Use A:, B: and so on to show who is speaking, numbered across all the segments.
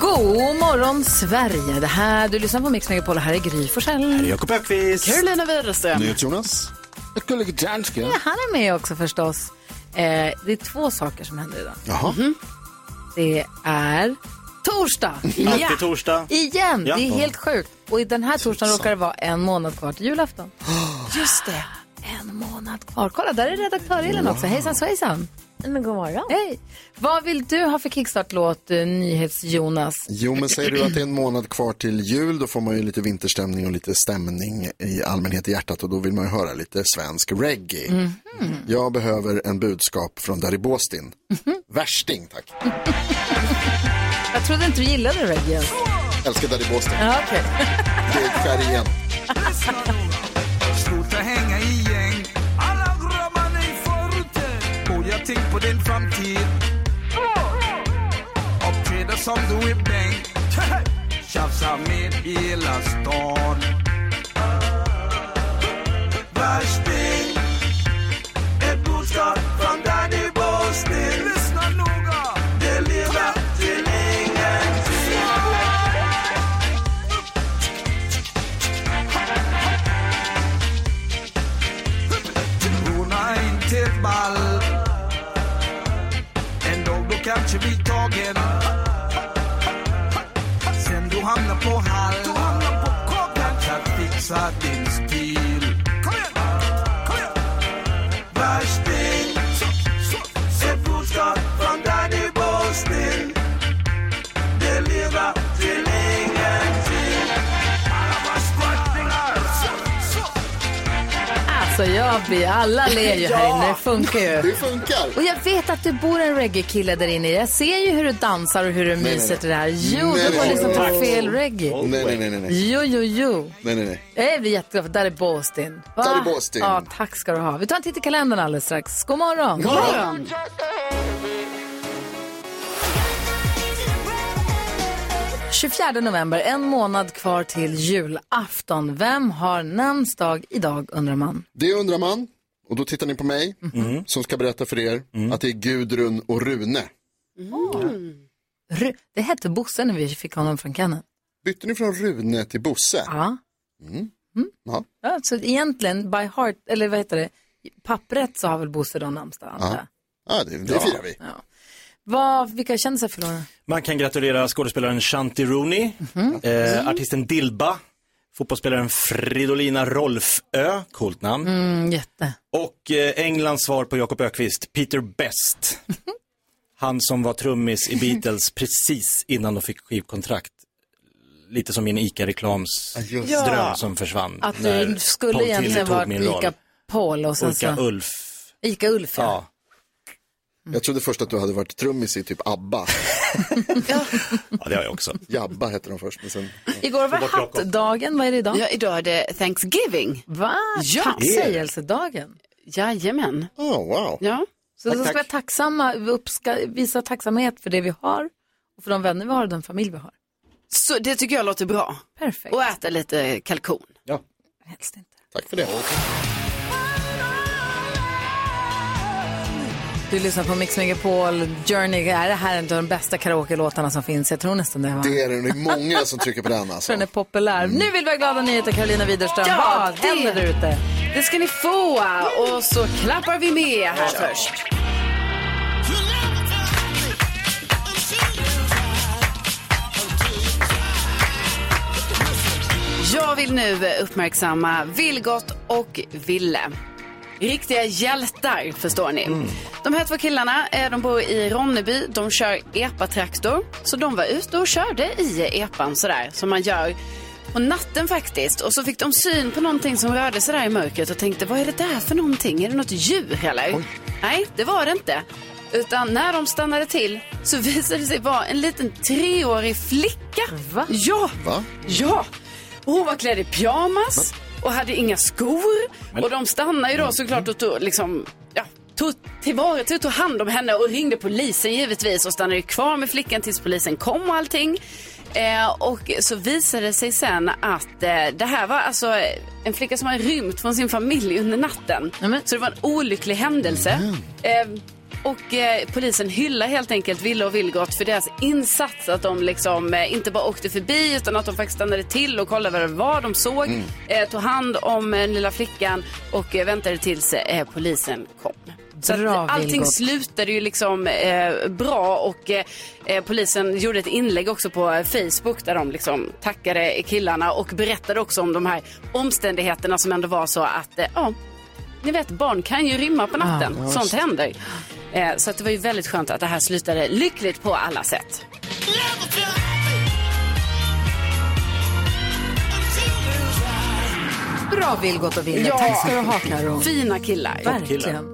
A: God morgon Sverige! Det här, du lyssnar på Mix Megapol och här är Gry Forssell.
B: Jakob Öqvist.
A: Carolina Widerström.
B: Jonas.
A: Ja, han är med också förstås. Eh, det är två saker som händer idag. Mhm.
B: Jaha.
A: Det är torsdag!
B: Alltid torsdag.
A: Igen!
B: Ja.
A: Det är helt sjukt. Och i den här torsdagen råkar det vara en månad kvar till julafton. Just det. En månad kvar. Kolla, där är redaktör-Elin också. Hejsan svejsan.
C: Men god morgon.
A: Hej! Vad vill du ha för kickstart-låt, eh, NyhetsJonas?
D: Jo, men säger du att det är en månad kvar till jul, då får man ju lite vinterstämning och lite stämning i allmänhet i hjärtat och då vill man ju höra lite svensk reggae.
A: Mm. Mhm.
D: Jag behöver en budskap från Dari Båstin.
A: Mhm.
D: Värsting, tack.
A: Jag trodde inte du gillade reggae.
D: Älskar Dari Båstin.
A: Ja, okej.
D: Det är skär igen.
E: Sluta hänga i gäng Alla grabbarna i förorten Och jag tänk på din framtid Uppträda som du är bäng Tjafsa med hela stan Värsting Ett budskap från Danny Bosnien Lyssna noga Det lever till ingenting Hon har inte ett ball En dag då kanske vi tagen Sen du hamnar på hall Du hamnar på Dags att fixa din stil Kom igen, kom igen Värsting Ett budskap från Danny Bosnien Det lever till ingenting Alla våra skvattningar
A: Alltså jag blir, alla ler ju här inne, det funkar ju.
D: Det funkar.
A: Och jag vet att du bor en reggae-kille där inne. Jag ser ju hur du dansar och hur du
D: nej,
A: myser till det här.
D: nej.
A: Jo,
D: Nej,
A: du har
D: nej,
A: liksom
D: nej.
A: på fel reggae.
D: Nej, nej, nej, nej, nej,
A: Jo, jo, jo.
D: nej, nej, nej.
A: Jag blir jätteglad för där är Båstin. Va?
D: Där är Båstin.
A: Ja, tack ska du ha. Vi tar en titt i kalendern alldeles strax. God morgon. God morgon. november, en månad kvar till julafton. Vem har namnsdag idag undrar man?
D: Det undrar man, och då tittar ni på mig, som ska berätta för er att det är Gudrun och Rune.
A: Mm. Ru- Det hette Bosse när vi fick honom från Kenneth.
D: Bytte ni från Rune till Bosse? Mm.
A: Ja. Mm.
D: Ja.
A: ja. Så egentligen, by heart, eller vad heter det, i pappret så har väl Bosse då namnsdag antar jag.
D: Ja, det, det firar vi.
A: Vad, vilka kändisar fyller år?
B: Man kan gratulera skådespelaren Shanti Rooney,
A: Mhm.
B: eh,
A: Mm.
B: artisten Dilba, fotbollsspelaren Fridolina Rolfö, coolt namn,
A: Mm, jätte.
B: och eh, Englands svar på Jakob Ökvist, Peter Best. Han som var trummis i Beatles precis innan de fick skivkontrakt. Lite som min ICA-reklamsdröm
D: just
B: som försvann.
A: Att
B: när
A: du
B: Paul
A: skulle
B: Tilly
A: egentligen
B: tog
A: vara
B: min roll.
A: Ica Paul och sen
B: Ulka
A: så
B: Ulf.
A: Ica Ulf. Ja.
B: Ja.
D: Jag trodde först att du hade varit trummis i typ ABBA.
B: ja, det har jag också.
D: Jabba hette de först, men sen...
A: Igår var hattdagen, vad är det idag?
F: Ja, idag är det Thanksgiving.
A: Va?
F: Ja.
A: Tacksägelsedagen.
F: Jajamän.
D: Oh, wow.
F: Ja.
A: Så då ska vi vara tacksamma, vi uppska, visa tacksamhet för det vi har och för de vänner vi har och den familj vi har.
F: Så det tycker jag låter bra.
A: Perfekt.
F: Och äta lite kalkon.
A: Helst inte.
D: Tack för det.
A: Du lyssnar på Mix Megapol, Journey, är det här inte de bästa karaoke-låtarna som finns? Jag tror nästan det. Va?
D: Det är det. Det är många som trycker på den alltså.
A: Den är populär.
B: Mm.
A: Nu vill vi ha glada nyheter, Karolina Widerström.
F: Ja,
A: Vad
F: det-
A: händer där ute?
F: Det ska ni få och så klappar vi med här först. Jag vill nu uppmärksamma Vilgot och Ville. Riktiga hjältar, förstår ni. De här två killarna, eh, de bor i Ronneby, de kör epatraktor. Så de var ute och körde i epan sådär, som man gör på natten faktiskt. Och så fick de syn på någonting som rörde sig där i mörkret och tänkte, vad är det där för någonting? Är det något djur eller? Nej, det var det inte. Utan när de stannade till så visade det sig vara en liten treårig flicka. Va? Ja.
D: Va?
F: Ja. Och hon var klädd i pyjamas och hade inga skor. Och de stannade ju då såklart och tog, liksom, ja, tog tillvara, tog, tog hand om henne och ringde polisen givetvis och stannade ju kvar med flickan tills polisen kom och allting. Eh, och så visade det sig sen att eh, det här var alltså eh, en flicka som hade rymt från sin familj under natten. Så det var en olycklig händelse. Eh, och eh, polisen hyllar helt enkelt Ville och Vilgot för deras insats. Att de liksom eh, inte bara åkte förbi utan att de faktiskt stannade till och kollade vad det var de såg. Eh, tog hand om eh, den lilla flickan och eh, väntade tills eh, polisen kom. Så
G: Bra,
F: att allting
G: Vilgot.
F: slutade ju liksom eh, bra och eh, eh, polisen gjorde ett inlägg också på eh, Facebook där de liksom tackade killarna och berättade också om de här omständigheterna som ändå var så att eh, ja, ni vet barn kan ju rymma på natten.
G: Ah,
F: Sånt händer. Eh, så att det var ju väldigt skönt att det här slutade lyckligt på alla sätt.
G: Bra Vilgot och Ville.
F: Ja.
G: Tack ska du ha Karo.
F: Fina killar.
G: Verkligen.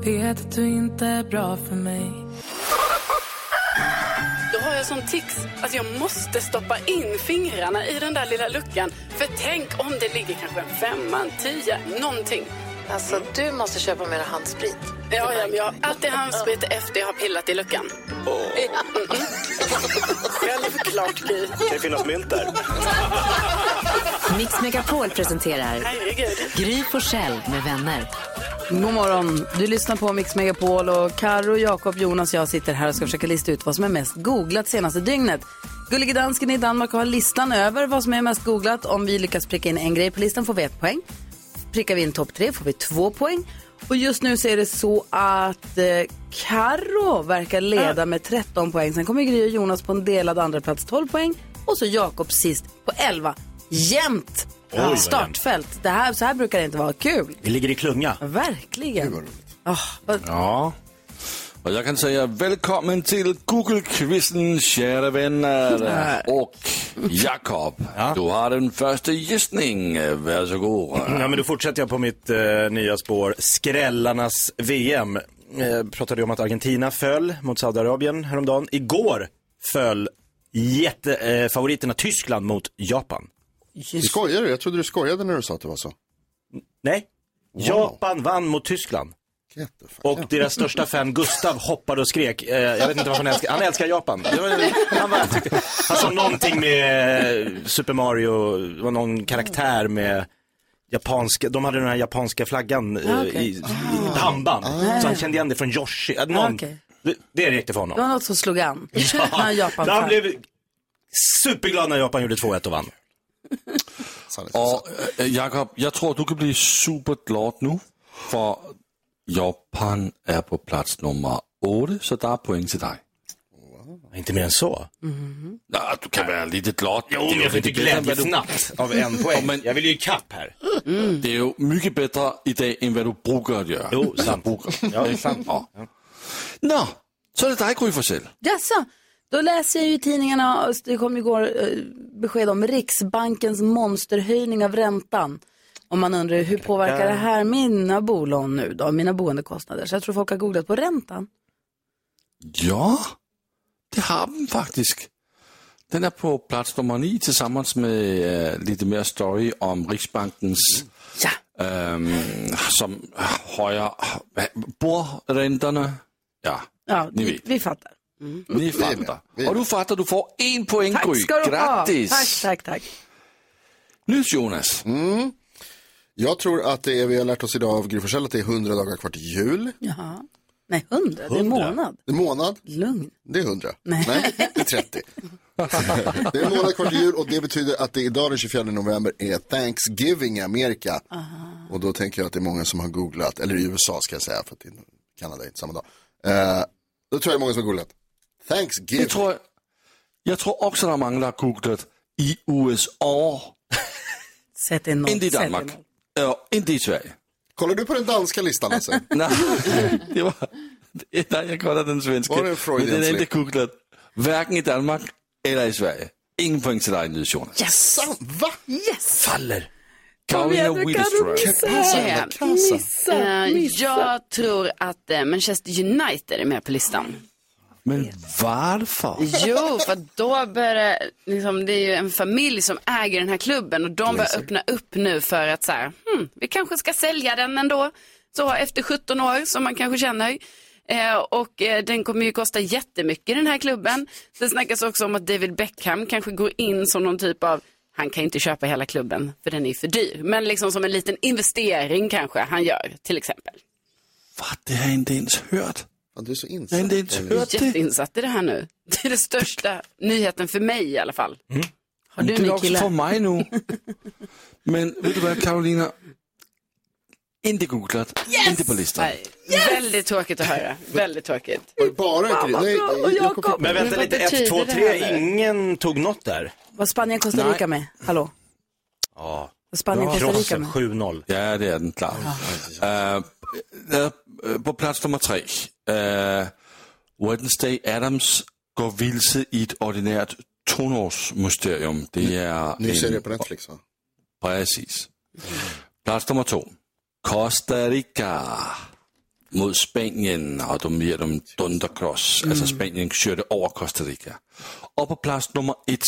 H: Vet att du inte är bra för mig
F: Då har jag sån tics att jag måste stoppa in fingrarna i den där lilla luckan. För tänk om det ligger kanske en femma, en tia, någonting. Mm.
G: Alltså du måste köpa mer handsprit.
F: Ja, ja, men jag har alltid handsprit efter jag har pillat i luckan. Självklart, Gry.
B: Kan det finnas mynt där?
I: Mix Megapol presenterar
F: Herregud.
I: Gry Forssell med vänner.
A: God morgon. Du lyssnar på Mix Megapol och Karo, Jakob, Jonas och jag sitter här och ska försöka lista ut vad som är mest googlat senaste dygnet. Gullige dansken i Danmark har listan över vad som är mest googlat. Om vi lyckas pricka in en grej på listan får vi ett poäng. Prickar vi in topp tre får vi två poäng. Och just nu så är det så att eh, Karo verkar
B: Ah.
A: leda med 13 poäng. Sen kommer Gry och Jonas på en delad andra plats 12 poäng. Och så Jakob sist på 11. Jämnt!
B: Oj, vad jämnt.
A: Startfält. Det här, så här brukar det inte vara. Kul!
B: Vi ligger i klunga.
A: Verkligen. Ah, vad-
J: Ja. Och jag kan säga välkommen till Google-quizen, kära vänner. Och Jakob, du har den första gissning. Varsågod.
B: Ja, men då fortsätter jag på mitt eh, nya spår. Skrällarnas VM. Eh, pratade ju om att Argentina föll mot Saudiarabien häromdagen. Igår föll jättefavoriterna eh, favoriterna Tyskland mot Japan.
D: Skojar du? Jag trodde du skojade när du sa att det var så.
B: Nej, Japan vann mot Tyskland.
D: Get the fuck
B: Och
D: out.
B: deras största fan Gustav hoppade och skrek. Eh, jag vet inte vad han älskar. Han älskar Japan. Det var, han, var, han sa någonting med eh, Super Mario, det var någon karaktär med japanska, de hade den här japanska flaggan eh,
A: Ah, okej.
B: i, i ett handband. Så han kände igen det från Yoshi. Eh,
A: Ah,
B: Någon,
A: okej.
B: det, det räckte för
A: Det var
B: honom. Ah,
A: något som slog an. Ja. Japan
B: Han blev superglad när Japan gjorde 2-1 och vann.
J: Och eh, Jakob, jag tror du kan bli superglad nu. För Japan är på plats nummer åtta, så där är poäng till dig.
B: Inte mer än så.
A: Mhm.
J: Ja, du kan vara lite glad.
B: Jo,
J: Det är
B: men
J: ju
B: jag fick
J: lite
B: ju
J: bättre än vad du-
B: glädjesnatt av en poäng.
J: men-
B: Jag vill ju i kapp här.
J: Det är ju mycket bättre idag än vad du brukar att göra.
B: Jo, sant.
J: Brukar.
B: Ja, det är sant.
J: Ja. Nå, så är det dig Gry Forssell.
A: Jaså, då läser jag ju i tidningarna, det kom igår eh, besked om Riksbankens monsterhöjning av räntan. Om man undrar hur påverkar det här mina bolån nu då, mina boendekostnader? Så jag tror folk har googlat på räntan.
J: Ja, det har den faktiskt. Den är på plats nummer nio tillsammans med eh, lite mer story om Riksbankens ehm, som höjer borräntorna. Ja,
A: Ja,
J: Ni
A: vi,
J: vet.
A: vi fattar.
J: ni
D: med,
J: fattar.
D: vi är
J: Och du fattar, du får en poäng
A: Mm. Tack
J: Gry.
A: ska du
J: Grattis!
A: ha. Tack, tack, tack.
J: Nu Jonas,
D: Mm. Jag tror att det är, vi har lärt oss idag av Gry Forssell att det är 100 dagar kvar till jul.
A: Jaha. Nej, hundra, det är månad.
D: En månad,
A: Lugn.
D: det är 100. Nej, det är 30. det är en månad kvar till jul och det betyder att det idag den 24 november är Thanksgiving i Amerika.
A: Ah.
D: Och då tänker jag att det är många som har googlat, eller i USA ska jag säga, för att det är Kanada är inte samma dag. Eh, då tror jag det är många som har googlat. Thanksgiving.
J: jag tror, jag tror också att många har googlat i USA,
A: Sätt en noll.
J: inte i
A: sätt en
J: Danmark,
A: noll.
J: Ja, inte i Sverige.
D: Kollar du på den danska listan alltså?
J: Nej, det var... det- Nej, jag kollade den svenska.
D: Var det en
J: Men
D: Freudian
J: den är inte
D: slip?
J: googlad. Varken i Danmark eller i Sverige. Ingen poäng till dig nu, Jonas.
D: Sam, va?
B: Faller.
J: Carolina
F: igen, du kan
J: Widerström.
F: missa.
J: Casa, la Casa.
F: Eh,
A: missa.
F: Jag tror att eh, Manchester United är med på listan.
J: Men varför?
F: Jo, för att då börjar liksom, det är ju en familj som äger den här klubben och de börjar
J: Exakt.
F: öppna upp nu för att så här, hmm, vi kanske ska sälja den ändå. Så efter 17 år som man kanske känner. Eh, och eh, den kommer ju kosta jättemycket den här klubben. Det snackas också om att David Beckham kanske går in som någon typ av, han kan inte köpa hela klubben för den är för dyr. Men liksom som en liten investering kanske han gör till exempel.
J: Det har jag inte ens hört.
D: Du är så insatt.
J: Jag har inte ens
F: Jag är
J: hört det.
F: jätteinsatt i det här nu. Det är den största nyheten för mig i alla fall. Har du
J: det är
F: en ny
J: också
F: kille?
J: för mig nu. Men vet du vad Carolina? Inte googlat, inte på listan.
F: Nej. Väldigt tråkigt att höra. Väldigt tråkigt.
D: Bara
F: Fan, vad bra. Och Jakob,
B: Men vänta
F: vad
B: lite,
F: betyder
B: 1, 2,
F: det
B: 3,
F: här?
B: ingen tog något där.
A: Vad Spanien Costa
B: Nej.
A: Rica med? Hallå?
B: Ja.
A: Spanien, Costa Rica
B: Krossen
A: med.
B: 7-0.
J: Ja, det är den klar. Eh, eh, eh, på plats nummer tre. eh, Wednesday Adams går vilse i ett ordinärt tonårsmysterium. Det är
D: Ny serie
J: en-
D: på Netflix va?
J: Precis. Plats nummer två. Costa Rica mot Spanien och de ger dem dunderkross. Alltså Spanien körde över Costa Rica. Och på plats nummer ett,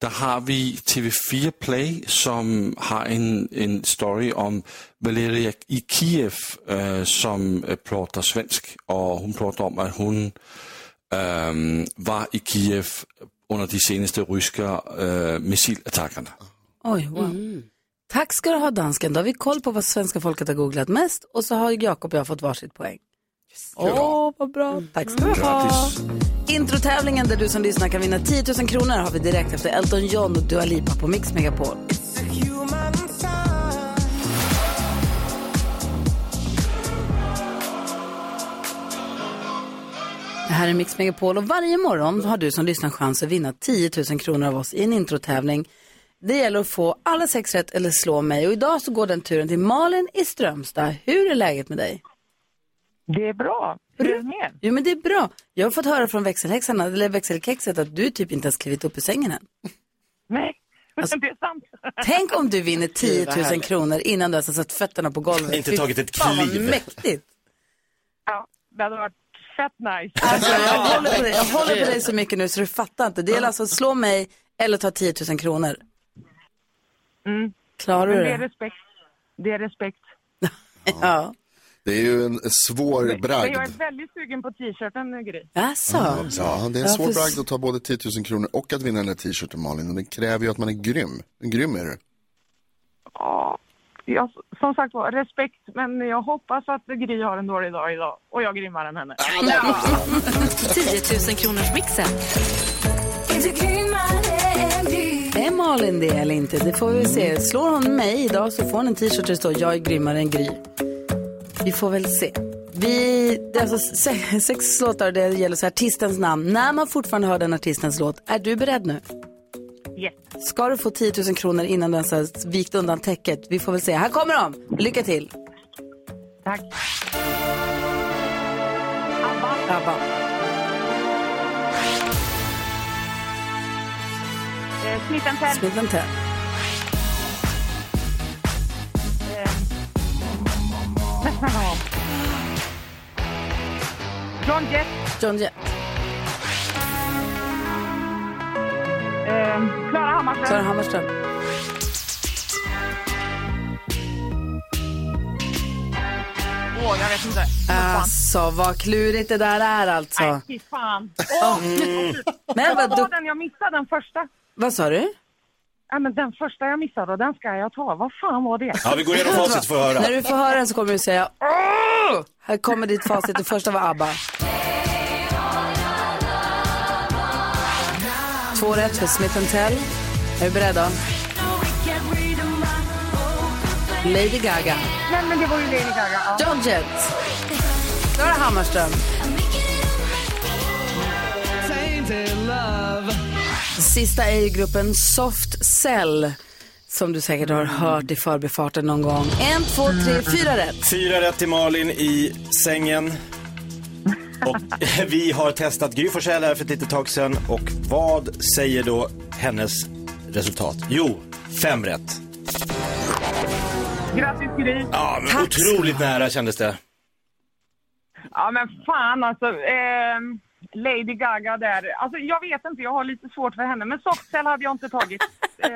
J: där har vi TV4 Play som har en, en story om Valeria i Kiev eh, som äh, pratar svensk och hon pratar om att hon ehm, var i Kiev under de senaste ryska äh, missilattackerna.
A: Oj, wow. Tack ska du ha dansken. Då har vi koll på vad svenska folket har googlat mest och så har Jakob och jag fått varsitt poäng. Åh, vad bra. Tack ska du ha. Introtävlingen där du som lyssnar kan vinna 10 000 kronor har vi direkt efter Elton John och Dua Lipa på Mix Megapol. Det här är Mix Megapol och varje morgon har du som lyssnar chans att vinna 10 000 kronor av oss i en introtävling. Det gäller att få alla sex rätt eller slå mig och idag så går den turen till Malin i Strömstad. Hur är läget med dig? Det är bra. Hur är det med? Jo men det är bra. Jag har fått höra från växelhäxan, eller växelkexet att du typ inte har klivit upp ur sängen än.
K: Nej,
A: Alltså,
K: det är sant.
A: Tänk om du vinner
K: Gud,
A: 10
K: vad
A: 000
K: härligt.
A: kronor innan du ens har satt alltså fötterna på golvet.
B: Inte
A: Fy
B: tagit ett
A: fan, vad
B: kliv.
A: mäktigt.
K: Ja, det hade varit fett nice.
A: Alltså, jag, håller på dig, jag håller på dig så mycket nu så du fattar inte. Det gäller alltså att slå mig eller ta 10 000 kronor.
K: Mm.
A: Klarar du
K: Men det? är
A: det?
K: respekt. Det är respekt.
A: Ja.
D: Det är ju en svår
K: Men
D: bragd.
K: jag är väldigt sugen på t-shirten, Gry.
A: Jaså?
D: Ja, det är
K: Ja,
D: en svår
K: precis.
D: bragd att ta både 10 000 kronor och att vinna den där t-shirten Malin. Och det kräver ju att man är grym. Hur grym är du?
K: Ja, jag, som sagt var, respekt. Men jag hoppas att Gry har en dålig dag idag och jag grimmar än henne.
I: 10 000 kronors mixen.
A: Är Malin det eller inte? Det får vi se. Slår hon mig idag så får hon en t-shirt där det står jag är grymmare än Gry. Vi får väl se. Vi, det är alltså se- sex låtar där det gäller så här, artistens namn. När man fortfarande hör den artistens låt, är du beredd nu?
K: Yes.
A: Ska du få 10 000 kronor innan du ens har vikt undan täcket? Vi får väl se. Här kommer de! Lycka till!
K: Tack.
A: ABBA.
K: Eh, Smith Tell.
A: Smith and Tell.
K: Eh. John Jett.
A: John Jett.
K: Eh, Klara Hammarström.
A: Klara Hammarström.
K: Åh, jag vet inte.
A: Alltså, vad klurigt det där är alltså.
K: Nej, fy fan. Åh,
A: Mm. Men vad
K: det var
A: du...
K: den jag missade, den första.
A: Vad sa du?
K: Ja, men den första jag missade, och den ska jag ta. Vad fan var det?
B: Ja, vi går igenom facit för att höra.
A: När du får höra den så kommer du säga Åh! Här kommer ditt facit. Det första var ABBA. Två rätt för Smith Tell. Är du beredd då? Lady Gaga.
K: Nej, men det var ju Lady Gaga. Ja.
A: John Jett. Klara Hammarström. Sista är ju gruppen Soft Cell. Som du säkert har hört i förbifarten någon gång. En, två, tre, fyra rätt.
B: Fyra rätt till Malin i sängen. Och vi har testat Gry Forssell här för ett litet tag sedan. Och vad säger då hennes resultat? Jo, fem rätt.
K: Grattis Gry!
B: Ja, men otroligt nära kändes det.
K: Ja men fan alltså. ehm, Lady Gaga där. Alltså jag vet inte, jag har lite svårt för henne. Men Softcell hade jag inte tagit. Eh,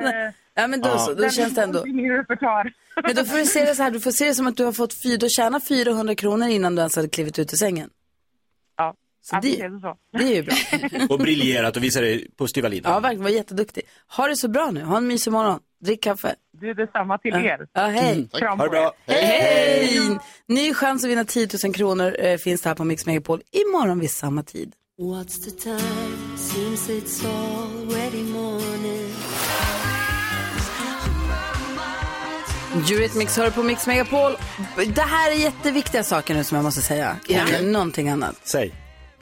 A: Ja, men då så, då
K: den
A: känns det ändå.
K: finns i min repertoar.
A: Men då får du se det så här, du får se det som att du har fått fyra, du tjänar 400 kronor innan du ens hade klivit ut ur sängen.
K: Ja,
A: så det,
K: det, så.
A: det är ju bra.
B: Och briljerat och visar dig positiva linjer.
A: Ja, verkligen, var jätteduktig. Ha det så bra nu, ha en mysig morgon, drick kaffe.
K: Du, detsamma till
A: Ja.
K: er. Mm,
A: Ja, hej.
B: Ha det bra.
A: Hej! hej! Ny chans att vinna 10 000 kronor eh, finns det här på Mix Megapol imorgon vid samma tid.
I: What's the time? Seems it's already morning.
A: Eurythmics hör på Mix Megapol. Det här är jätteviktiga saker nu som jag måste säga.
I: Ja.
A: Eller Någonting annat.
B: Säg.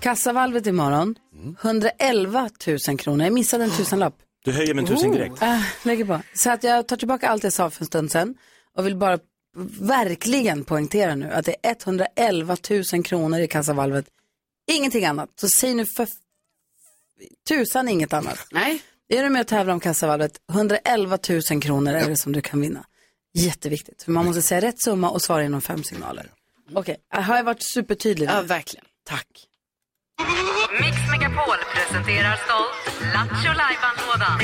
A: Kassavalvet imorgon, 111 000 kronor. Jag missade en tusenlapp.
B: Du höjer med en tusing direkt.
A: Oh, äh, lägger på. Så att jag tar tillbaka allt jag sa för en stund sedan och vill bara verkligen poängtera nu att det är 111 000 kronor i kassavalvet. Ingenting annat. Så säg nu för tusan inget annat.
F: Nej.
A: Är du med och tävlar om kassavalvet, 111 000 kronor är det som du kan vinna. Jätteviktigt, för man måste säga rätt summa och svara inom fem signaler. Okej, har jag varit supertydlig? Ja,
F: verkligen.
A: Tack.
I: Mix Megapol presenterar stolt Lattjo Lajban-lådan.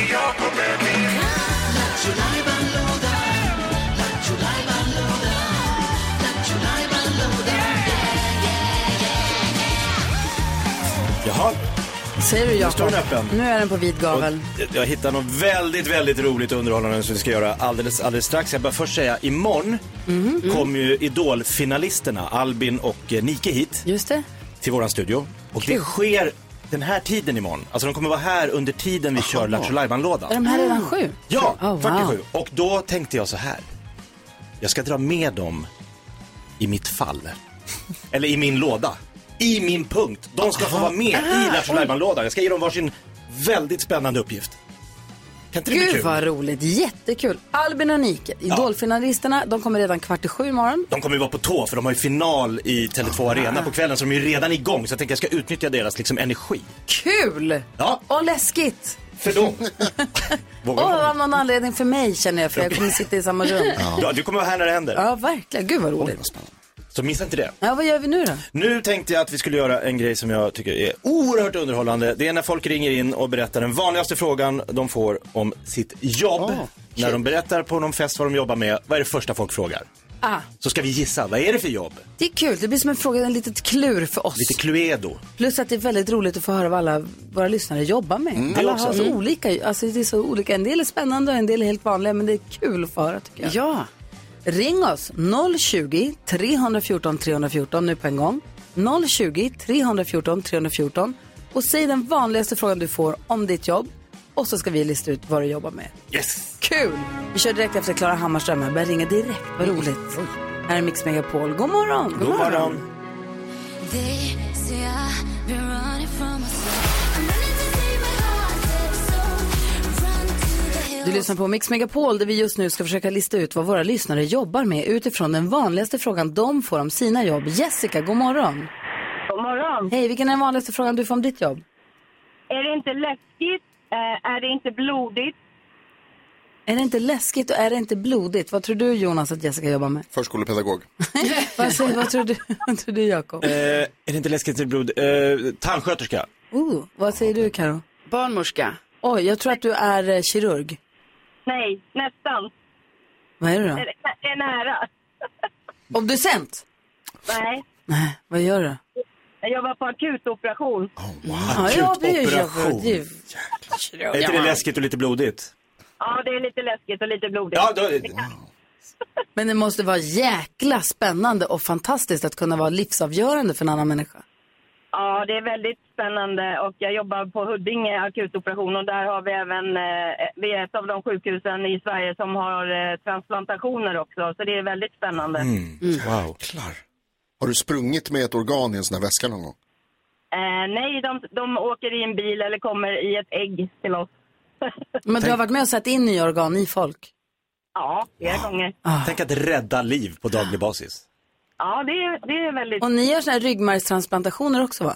B: Jaha.
A: Säger du
B: Nu står
A: Jakob?
B: den öppen.
A: Nu är den på vid gavel.
B: Jag hittade något väldigt, väldigt roligt och underhållande som vi ska göra alldeles, alldeles strax. Jag bara först säga, imorgon
A: Mhm.
B: kommer ju Idol-finalisterna Albin och eh, Nike hit.
A: Just det.
B: Till våran studio. Och det sker den här tiden imorgon. Alltså de kommer vara här under tiden vi kör Lattjo Lajban-lådan.
A: Är de här redan sju?
B: Ja,
A: Oh, wow.
B: 47. Och då tänkte jag så här. Jag ska dra med dem i mitt fall. Eller i min låda. I min punkt. De ska få vara med i
A: Ah,
B: Lattjo Lajban-lådan. Jag ska ge dem varsin väldigt spännande uppgift. Kan inte det bli
A: Gud
B: kul?
A: vad roligt, jättekul. Albin och Nike, idolfinalisterna, de kommer redan kvart i sju imorgon.
B: De kommer ju vara på tå för de har ju final i
A: Ah.
B: Tele2 Arena på kvällen så de är ju redan igång så jag tänker jag ska utnyttja deras liksom energi.
A: Kul!
B: Ja.
A: Och läskigt!
B: För dem. Vågar
A: Och
B: man?
A: av någon anledning för mig känner jag, för jag kommer sitta i samma rum.
B: ja, du kommer vara här när det händer.
A: Ja, verkligen. Gud vad roligt.
B: Så missa inte det.
A: Ja, vad gör vi nu då?
B: Nu tänkte jag att vi skulle göra en grej som jag tycker är oerhört underhållande. Det är när folk ringer in och berättar den vanligaste frågan de får om sitt
A: Ah,
B: jobb. när de berättar på någon fest vad de jobbar med, vad är det första folk frågar?
A: Ah,
B: Så ska vi gissa, vad är det för jobb?
A: det är kul, det blir som en fråga, en litet klur för oss.
B: Lite Cluedo.
A: Plus att det är väldigt roligt att få höra vad alla våra lyssnare jobbar med.
B: Mm, det
A: alla
B: också.
A: har så
B: Mm.
A: olika, alltså det är så olika. En del är spännande och en del är helt vanliga, men det är kul att få höra tycker jag.
F: Ja.
A: Ring oss 020 314 314 nu på en gång. 020 314 314 och säg den vanligaste frågan du får om ditt jobb och så ska vi lista ut vad du jobbar med.
B: Yes!
A: Kul! Vi kör direkt efter Klara Hammarström. Jag börjar ringa direkt. Vad roligt. Här är Mix Megapol. God morgon!
B: God morgon!
I: They say I've been running from myself.
A: Du lyssnar på Mix Megapol där vi just nu ska försöka lista ut vad våra lyssnare jobbar med utifrån den vanligaste frågan de får om sina jobb. Jessica, god morgon!
L: God morgon.
A: Hej, vilken är den vanligaste frågan du får om ditt jobb?
L: Är det inte läskigt? Eh, är det inte blodigt?
A: Är det inte läskigt och är det inte blodigt? Vad tror du Jonas att Jessica jobbar med?
D: Förskolepedagog.
A: vad, säger, vad tror du, vad tror du Jakob?
B: Eh, är det inte läskigt till blod? Eh, tandsköterska.
A: Oh, vad säger du Karo?
F: Barnmorska.
A: Oj, jag tror att du är eh, kirurg.
L: Nej, nästan.
A: Vad är du
L: Är
A: då?
L: det det är nära?
A: Obducent?
L: Nej,
A: Nej, vad gör du?
L: jag jobbar på akutoperation.
A: Ja, jag blir ju
B: Akutoperation.
A: kirurg.
B: Är inte det läskigt och lite blodigt?
L: Ja, det är lite läskigt och lite blodigt.
B: Ja, då-
L: Det kan-
A: Men det måste vara jäkla spännande och fantastiskt att kunna vara livsavgörande för en annan människa.
L: ja, det är väldigt spännande och jag jobbar på Huddinge akutoperation och där har vi även, eh, vi är ett av de sjukhusen i Sverige som har eh, transplantationer också, så det är väldigt spännande.
B: Mm.
K: Mm.
B: Wow.
D: Klar. Mm. Har du sprungit med ett organ i en sån här väska någon gång?
L: Eh, nej, de, de åker i en bil eller kommer i ett ägg till oss.
A: Men du har varit med och satt in nya organ i folk.
L: Ja, flera gånger.
A: Ah.
B: Tänk att rädda liv på daglig basis.
L: Ja, det är, det är väldigt...
A: Och ni gör sådana här ryggmärgstransplantationer också va?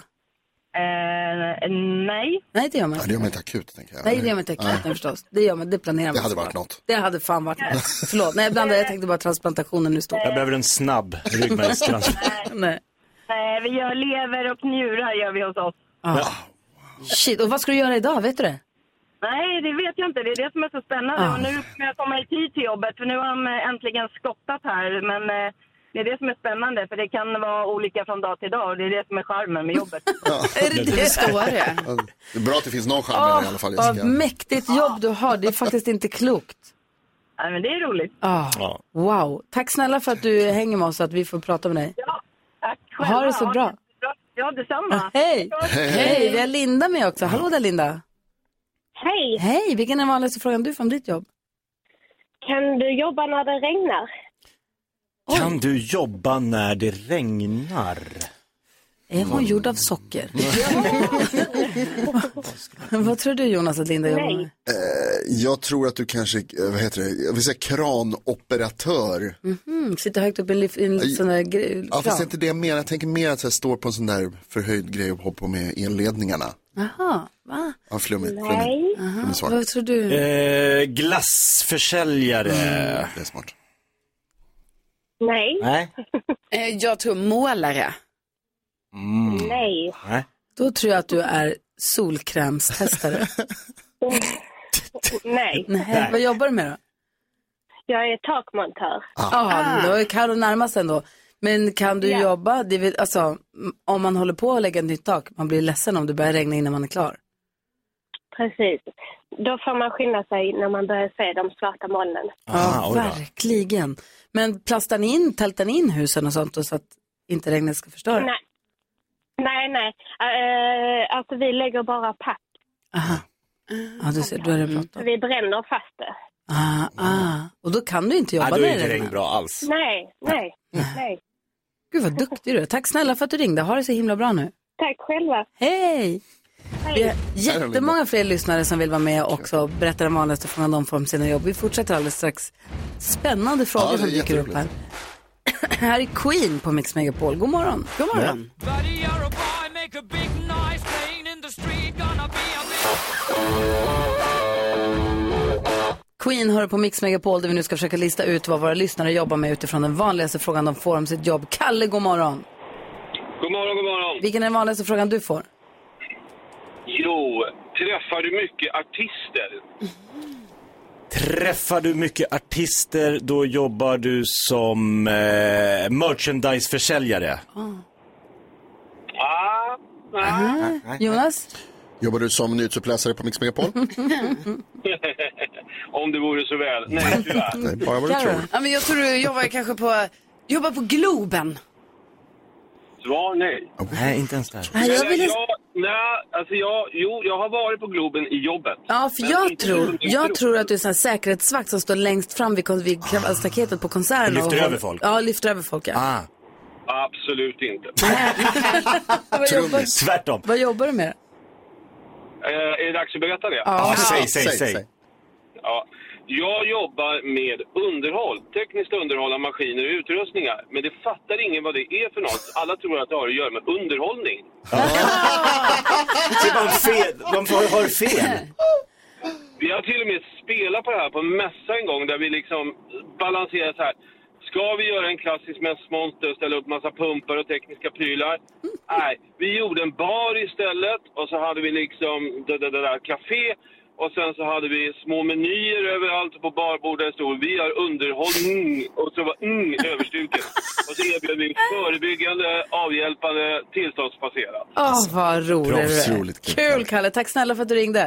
L: Eh, nej.
A: Nej, det gör man
D: Nej,
A: inte.
D: det gör man inte akut, tänker jag.
A: Nej, det gör man inte akuten förstås. Det gör man, det planerar man.
D: Det hade
A: såklart.
D: varit något.
A: Det hade fan varit något. Förlåt, nej jag blandade, jag tänkte bara transplantationen nu står.
B: Jag behöver en snabb ryggmärgstransplantation.
A: nej.
L: Nej, Eh, vi gör lever och njurar gör vi hos oss.
A: Ah. Shit, och vad ska du göra idag, vet du det?
L: Nej, det vet jag inte. Det är det som är så spännande.
A: Ah.
L: Och nu ska jag komma i tid till jobbet, för nu har de eh, äntligen skottat här. Men eh, det är det som är spännande, för det kan vara olika från dag till dag. Och det är det som är charmen med jobbet.
D: det
L: det? Så är
A: det.
D: Det är bra att det finns någon charm i det i alla fall,
A: Vad
D: Jessica.
A: mäktigt jobb du har, det är faktiskt inte klokt.
L: Nej, men det är roligt.
A: Ah. Wow, tack snälla för att du hänger med oss så att vi får prata med dig.
L: Ja, tack
A: Ha det så
L: själva.
A: bra. Ah,
L: Ja, detsamma.
A: Hej!
L: Hej.
A: Hej, vi har Linda med också. Hallå där Linda.
M: Hej!
A: Hej, vilken är den vanligaste frågan du får om ditt jobb?
M: Kan du jobba när det regnar?
B: Kan du jobba när det regnar? Mm.
A: Är hon gjord av socker? Vad tror du Jonas att Linda jobbar med?
D: Eh, Jag tror att du kanske, eh, vad heter det, jag vill säga kranoperatör.
A: Mhm, sitter högt upp i en, lif- i en sån där gre-
D: Ja, fast det är
A: kran.
D: inte det jag menar. Jag tänker mer att jag står på en sån där förhöjd grej och hoppar med elledningarna.
A: Jaha, va?
D: Ja, flummigt. flummigt.
M: Nej.
D: Flummigt svar.
A: Ah, Vad tror du?
B: Eh, glassförsäljare.
D: Mm, Det är smart.
M: Nej.
B: Nej.
F: Eh, Jag tror målare.
D: Mm.
M: Nej.
B: Nej.
A: Då tror jag att du är solkrämstestare.
M: Nej.
A: Nej. Vad jobbar du med då?
M: Jag är takmontör.
D: Ah.
A: Ja, men
M: Ah.
A: då är Carro närmast ändå. Men kan du jobba, det vill, alltså, m- om man håller på att lägga ett nytt tak, man blir ledsen om det börjar regna innan man är klar.
M: Precis. Då får man skynda sig när man börjar se de svarta molnen.
A: ja, verkligen. Men plastar ni in, tältar ni in husen och sånt och så att inte regnet ska förstöra?
M: Nej. Nej, nej. Eh, alltså vi lägger bara papp.
A: Ja, du ser, då är det bråttom.
M: Vi bränner fast det.
A: Ah, ah. Och då kan du inte jobba
B: då är
A: när
B: inte
A: regnar.
B: regn bra alls.
M: Nej, nej, nej.
A: Gud vad duktig du är. Tack snälla för att du ringde. Ha det så himla bra nu.
M: Tack själva.
A: Hej! Vi har jättemånga fler lyssnare som vill vara med också och berätta den vanligaste frågan de får om sina jobb. Vi fortsätter alldeles strax. Spännande frågor
H: Ja, det är
A: som dyker upp här.
H: jätteroligt.
A: här är Queen på Mix Megapol. God morgon! God morgon! Queen hör på Mix Megapol där vi nu ska försöka lista ut vad våra lyssnare jobbar med utifrån den vanligaste frågan de får om sitt jobb. Kalle, god morgon!
N: God morgon, god morgon.
A: Vilken är den vanligaste frågan du får?
N: Jo, träffar du mycket artister?
B: Träffar du mycket artister, då jobbar du som eh, merchandiseförsäljare.
N: Ah,
A: Ah, Jonas?
D: Jobbar du som nyhetsuppläsare på Mix Megapol?
N: Om det vore så väl. Nej, tyvärr.
D: Nej, bara vad du tror.
F: Ja, men jag tror du jobbar kanske på, jobbar på Globen.
N: Svar nej.
B: Nej, inte ens där.
A: Nej, jag ville-
N: jag, nej, alltså jag, jo, jag har varit på Globen i jobbet.
A: Ja, för
N: Men
A: jag
N: inte
A: tror,
N: som
A: jag tror att du är en sån här säkerhetsvakt som står längst fram vid, kon- vid kra- staketet på konserterna.
N: Lyfter
A: håll-
N: över folk?
A: Ja, lyfter över folk. Ah. Ja.
N: Absolut inte.
A: Vad, jobbar,
B: Tvärtom.
A: vad jobbar du med?
N: Eh, är det dags att berätta det?
A: Ja. Ja, säg, säg, säg.
N: Ja. Jag jobbar med underhåll, tekniskt underhåll av maskiner och utrustningar. Men det fattar ingen vad det är för något. Alla tror att det har att göra med underhållning.
B: Det är bara Typ fel. De får- har fel.
N: Vi har till och med spelat på det här på en mässa en gång där vi liksom balanserar så här. Ska vi göra en klassisk mässmonter och ställa upp massa pumpar och tekniska prylar? Nej, vi gjorde en bar istället och så hade vi liksom det, det, det där café och sen så hade vi små menyer överallt och på barborden stod vi har underhållning och så var mm överstruket. Och så erbjöd vi förebyggande, avhjälpande, tillståndsbaserat.
A: Åh, vad rolig
N: proffs,
A: du är.
N: roligt, kul.
A: Kul, Kalle. Tack snälla för att du ringde.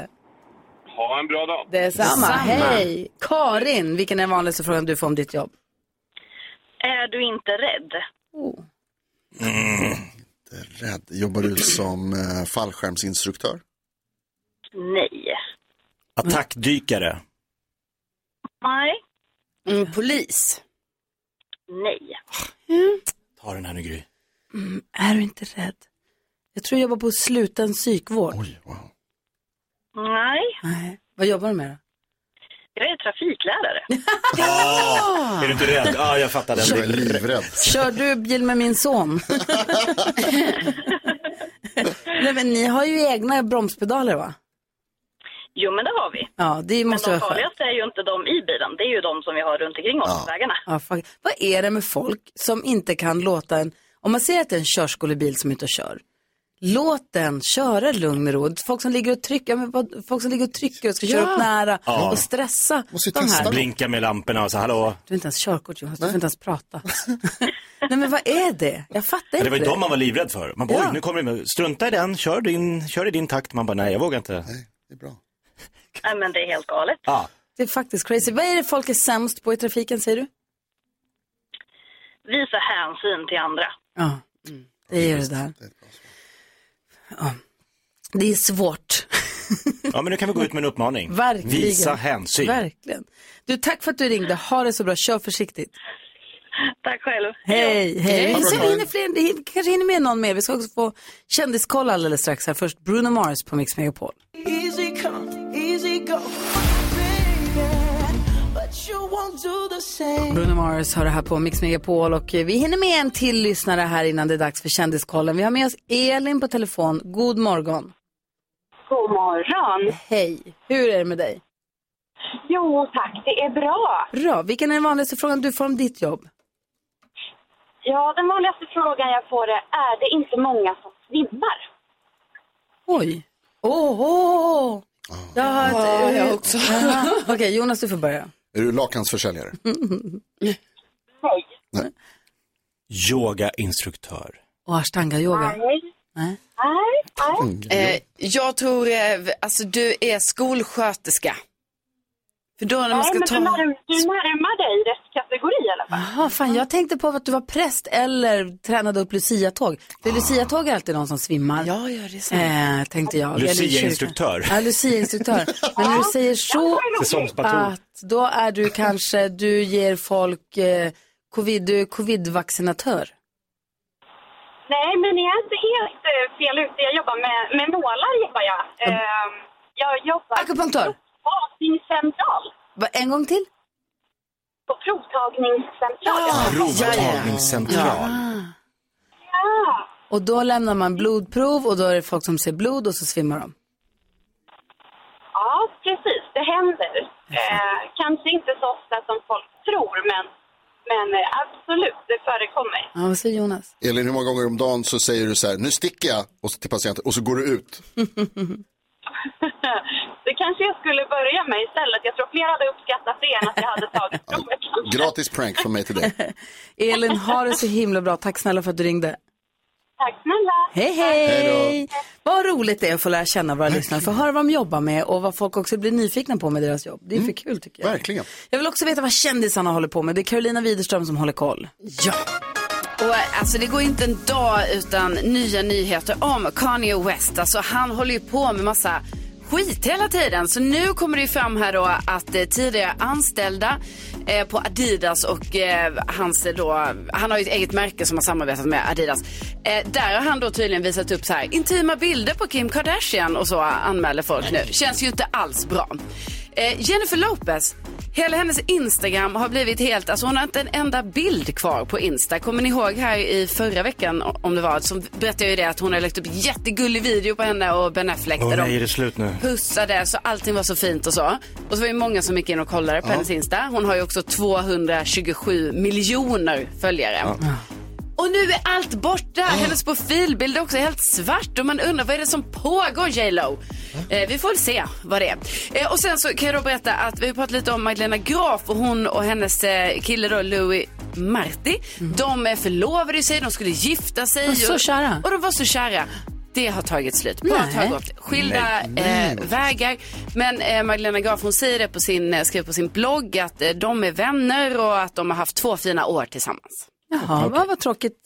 N: Ha en bra dag!
A: Detsamma. Hej! Karin, vilken är den vanligaste frågan du får om ditt jobb?
L: Är du inte rädd?
A: Oh.
D: Rädd. Jobbar du som eh, fallskärmsinstruktör?
L: Nej.
B: Attackdykare.
L: Nej.
F: Mm, polis.
L: Nej.
B: Ta den här nu Gry.
A: Mm, är du inte rädd? Jag tror jag jobbar på sluten psykvård.
L: Nej.
A: Nej. Vad jobbar du med då?
L: Jag är trafiklärare.
B: Ah, är du inte rädd? Ja, ah, jag fattar den.
D: Jag är livrädd.
A: Kör du bil med min son? Nej, men ni har ju egna bromspedaler va?
O: Jo, men det har vi.
A: Ja, det måste
O: men
A: vara
O: de
A: skönt.
O: farligaste är ju inte de i bilen, det är ju de som vi har runt omkring oss på vägarna.
A: Ja, fuck. Vad är det med folk som inte kan låta en, om man ser att det är en körskolebil som är ute och kör, låt den köra i lugn och ro. Folk som ligger och trycker, ja, men vad- folk som ligger och trycker och ska köra
B: Ja.
A: upp nära
B: Ja.
A: och stressa de här. Du
B: Blinka med lamporna och så, hallå.
A: har inte ens körkort Jonas, du får inte ens prata. Nej men vad är det? Jag fattar
B: Ja, det
A: inte
B: var ju de man var livrädd för. Man bara,
A: Ja.
B: oj, nu kommer det, strunta i den, kör, din, kör i din takt. Man bara, nej, jag vågar inte.
O: Nej, men det är helt galet.
B: Ja.
A: Det är faktiskt crazy. Vad är det folk är sämst på i trafiken säger du?
O: Visa hänsyn till andra.
A: Ja, det är ju det där. Ja. Det är svårt.
B: Ja, men nu kan vi gå ut med en uppmaning.
A: Verkligen.
B: Visa hänsyn.
A: Verkligen. Du, tack för att du ringde. Ha det så bra. Kör försiktigt.
O: Tack själv.
A: Hej, hej. Vi
O: Hej.
A: ser vi hinner fler, det hin- kanske hinner med någon mer. Vi ska också få kändiskoll alldeles strax här. Först Bruno Mars på Mix Megapol.
P: Easy come, easy go. Baby, but you won't do the same.
A: Bruno Mars har det här på Mix Megapol och eh, vi hinner med en till lyssnare här innan det är dags för kändiskollen. Vi har med oss Elin på telefon. God morgon.
Q: God morgon.
A: Hej. Hur är det med dig?
Q: Jo tack, det är bra.
A: Bra. Vilken är den vanligaste frågan du får om ditt jobb?
Q: Ja, den vanligaste frågan jag får är, är det inte många som svimmar?
A: Oj. Åh! Oh, Jag har
Q: Ja, jag
A: också. Okej, Jonas du får börja.
D: Är du lakansförsäljare?
B: Yogainstruktör.
A: Och ashtanga-yoga.
F: Nej.
A: Nej, nej.
F: Eh, jag tror, eh, alltså du är skolsköterska. För då när man ska
Q: men
F: ta...
Q: du, närm, du närmar dig rätt kategori i alla fall.
A: Jaha, fan jag tänkte på att du var präst eller tränade upp luciatåg. För luciatåg är alltid någon som svimmar. Ja, ja det är sant. Eh, tänkte jag. Eller i kyrkan.
B: Lucia-instruktör.
A: Ja, luciainstruktör. Men när du säger så
B: Säsongspatron.
A: att då är du kanske, du ger folk eh, covid, du är covidvaccinatör.
Q: Nej, men jag är inte helt eh, fel ute. Jag jobbar med, med nålar. Jobbar jag. Ehm, jag jobbar...
A: Akupunktör?
Q: Provtagningscentral.
A: Va, en gång till?
Q: På provtagningscentral.
B: Provtagningscentral.
Q: Ja.
A: Och då lämnar man blodprov och då är det folk som ser blod och så svimmar de.
Q: Ja, precis. Det händer. Eh, kanske inte så ofta som folk tror, men, men eh, absolut, det förekommer.
A: Ja, vad säger Jonas?
D: Elin, hur många gånger om dagen så säger du så här, nu sticker jag, och så till patienten, och så går du ut.
Q: det kanske jag skulle börja med istället. Jag tror fler hade uppskattat det än att jag hade tagit provet.
D: Gratis prank från mig till dig.
A: Elin, ha det så himla bra. Tack snälla för att du ringde.
Q: Tack snälla.
A: Hej, hej! Vad roligt det är att få lära känna våra lyssnare, få höra vad de jobbar med och vad folk också blir nyfikna på med deras jobb. Det är för kul tycker jag.
D: Verkligen.
A: Jag vill också veta vad kändisarna håller på med. Det är Carolina Widerström som håller koll.
F: Ja. Och eh, alltså det går inte en dag utan nya nyheter om Kanye West. Alltså han håller ju på med massa skit hela tiden. Så nu kommer det ju fram här då att eh, tidigare anställda eh, på Adidas och eh, hans eh, då, han har ju ett eget märke som har samarbetat med Adidas. Eh, där har han då tydligen visat upp så här intima bilder på Kim Kardashian och så anmäler folk nu. Känns ju inte alls bra. Eh, Jennifer Lopez, hela hennes Instagram har blivit helt, alltså hon har inte en enda bild kvar på Insta. Kommer ni ihåg här i förra veckan o- om det var, så berättade jag ju det att hon har lagt upp jättegullig video på henne och Ben Affleck
B: Åh
F: där
B: nej, är
F: de
B: det slut nu?
F: pussade så allting var så fint och så. Och så var ju många som gick in och kollade på
B: Ja.
F: hennes Insta. Hon har ju också 227 miljoner följare. Och nu är allt
A: Ah.
F: borta. Hennes profilbild är också helt svart och man undrar vad är det som pågår J Lo? Eh, vi får väl se vad det är. Eh, och sen så kan jag då berätta att vi har pratat lite om Magdalena Graf och hon och hennes eh, kille då Louis Marti. De eh, förlovade sig, de skulle gifta sig.
A: Mm. Var så
F: och,
A: kära.
F: Och de var så kära. Det har tagit slut. Paret har
A: Nej.
F: gått skilda
A: Nej. Nej.
F: Eh, vägar. Men eh, Magdalena Graf hon säger det på sin, eh, skrev på sin blogg att eh, de är vänner och att de har haft två fina år tillsammans.
A: Jaha, vad var tråkigt.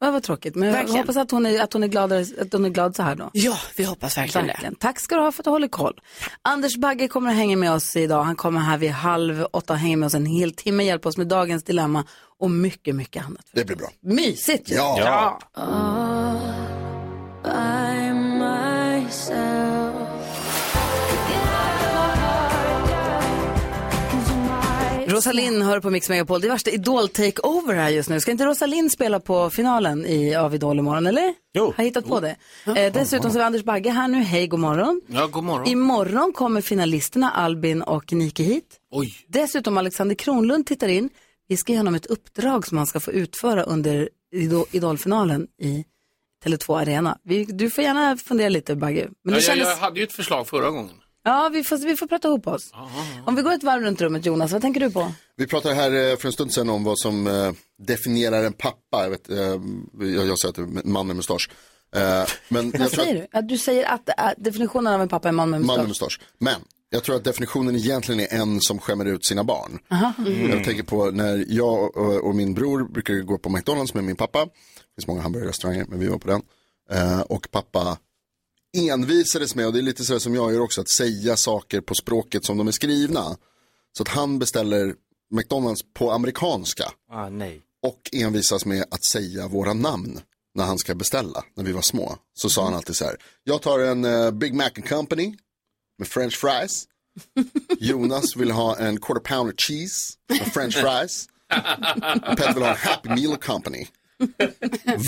A: Vad var tråkigt. Men jag
F: Verkligen.
A: hoppas att hon, är, att, hon är gladare, att hon är glad så här då.
F: Ja, vi hoppas verkligen det.
A: Verkligen. Tack ska du ha för att du håller koll. Anders Bagge kommer att hänga med oss idag. Han kommer här vid halv åtta och hänger med oss en hel timme, hjälper oss med dagens dilemma och mycket, mycket annat.
D: Det blir bra.
A: Mysigt ju.
D: Ja. Ja.
I: By myself.
A: Rosalind hör på Mix Megapol. Det är värsta Idol-takeover här just nu. Ska inte Rosalind spela på finalen i, av Idol imorgon, eller? Jo. Har hittat på det. Eh, dessutom så är Anders Bagge här nu. Hej, god morgon.
R: Ja, god morgon.
A: Imorgon kommer finalisterna Albin och Nike hit.
R: Oj.
A: Dessutom Alexander Kronlund tittar in. Vi ska ge honom ett uppdrag som han ska få utföra under Ido- Idolfinalen i Tele2 Arena. Vi, du får gärna fundera lite Bagge. Men
R: ja,
A: det
R: jag,
A: kändes...
R: jag hade ju ett förslag förra gången.
A: Ja, vi får, vi får prata ihop oss. Om vi går ett varv runt rummet Jonas, vad tänker du på?
D: Vi pratade här eh, för en stund sedan om vad som eh, definierar en pappa. Jag, vet, eh, jag, jag säger att det är en man med mustasch. Eh, Men
A: Vad
D: jag tror
A: säger
D: att
A: du? Att du säger att eh, definitionen av en pappa är en man med
D: man med
A: mustasch.
D: mustasch. Men jag tror att definitionen egentligen är en som skämmer ut sina barn.
A: Aha.
R: Mm.
D: Jag tänker på när jag och, och min bror brukar gå på McDonalds med min pappa. Det finns många hamburgerrestauranger, men vi var på den. Eh, och pappa envisades med, och det är lite sådär som jag gör också, att säga saker på språket som de är skrivna. Så att han beställer McDonalds på amerikanska.
R: Ah, nej.
D: Och envisas med att säga våra namn när han ska beställa, när vi var små. Så sa han alltid så här, jag tar en eh, Big Mac and Company med french fries. Jonas vill ha en quarter pounder cheese med french fries. Petter vill ha en Happy Meal Company.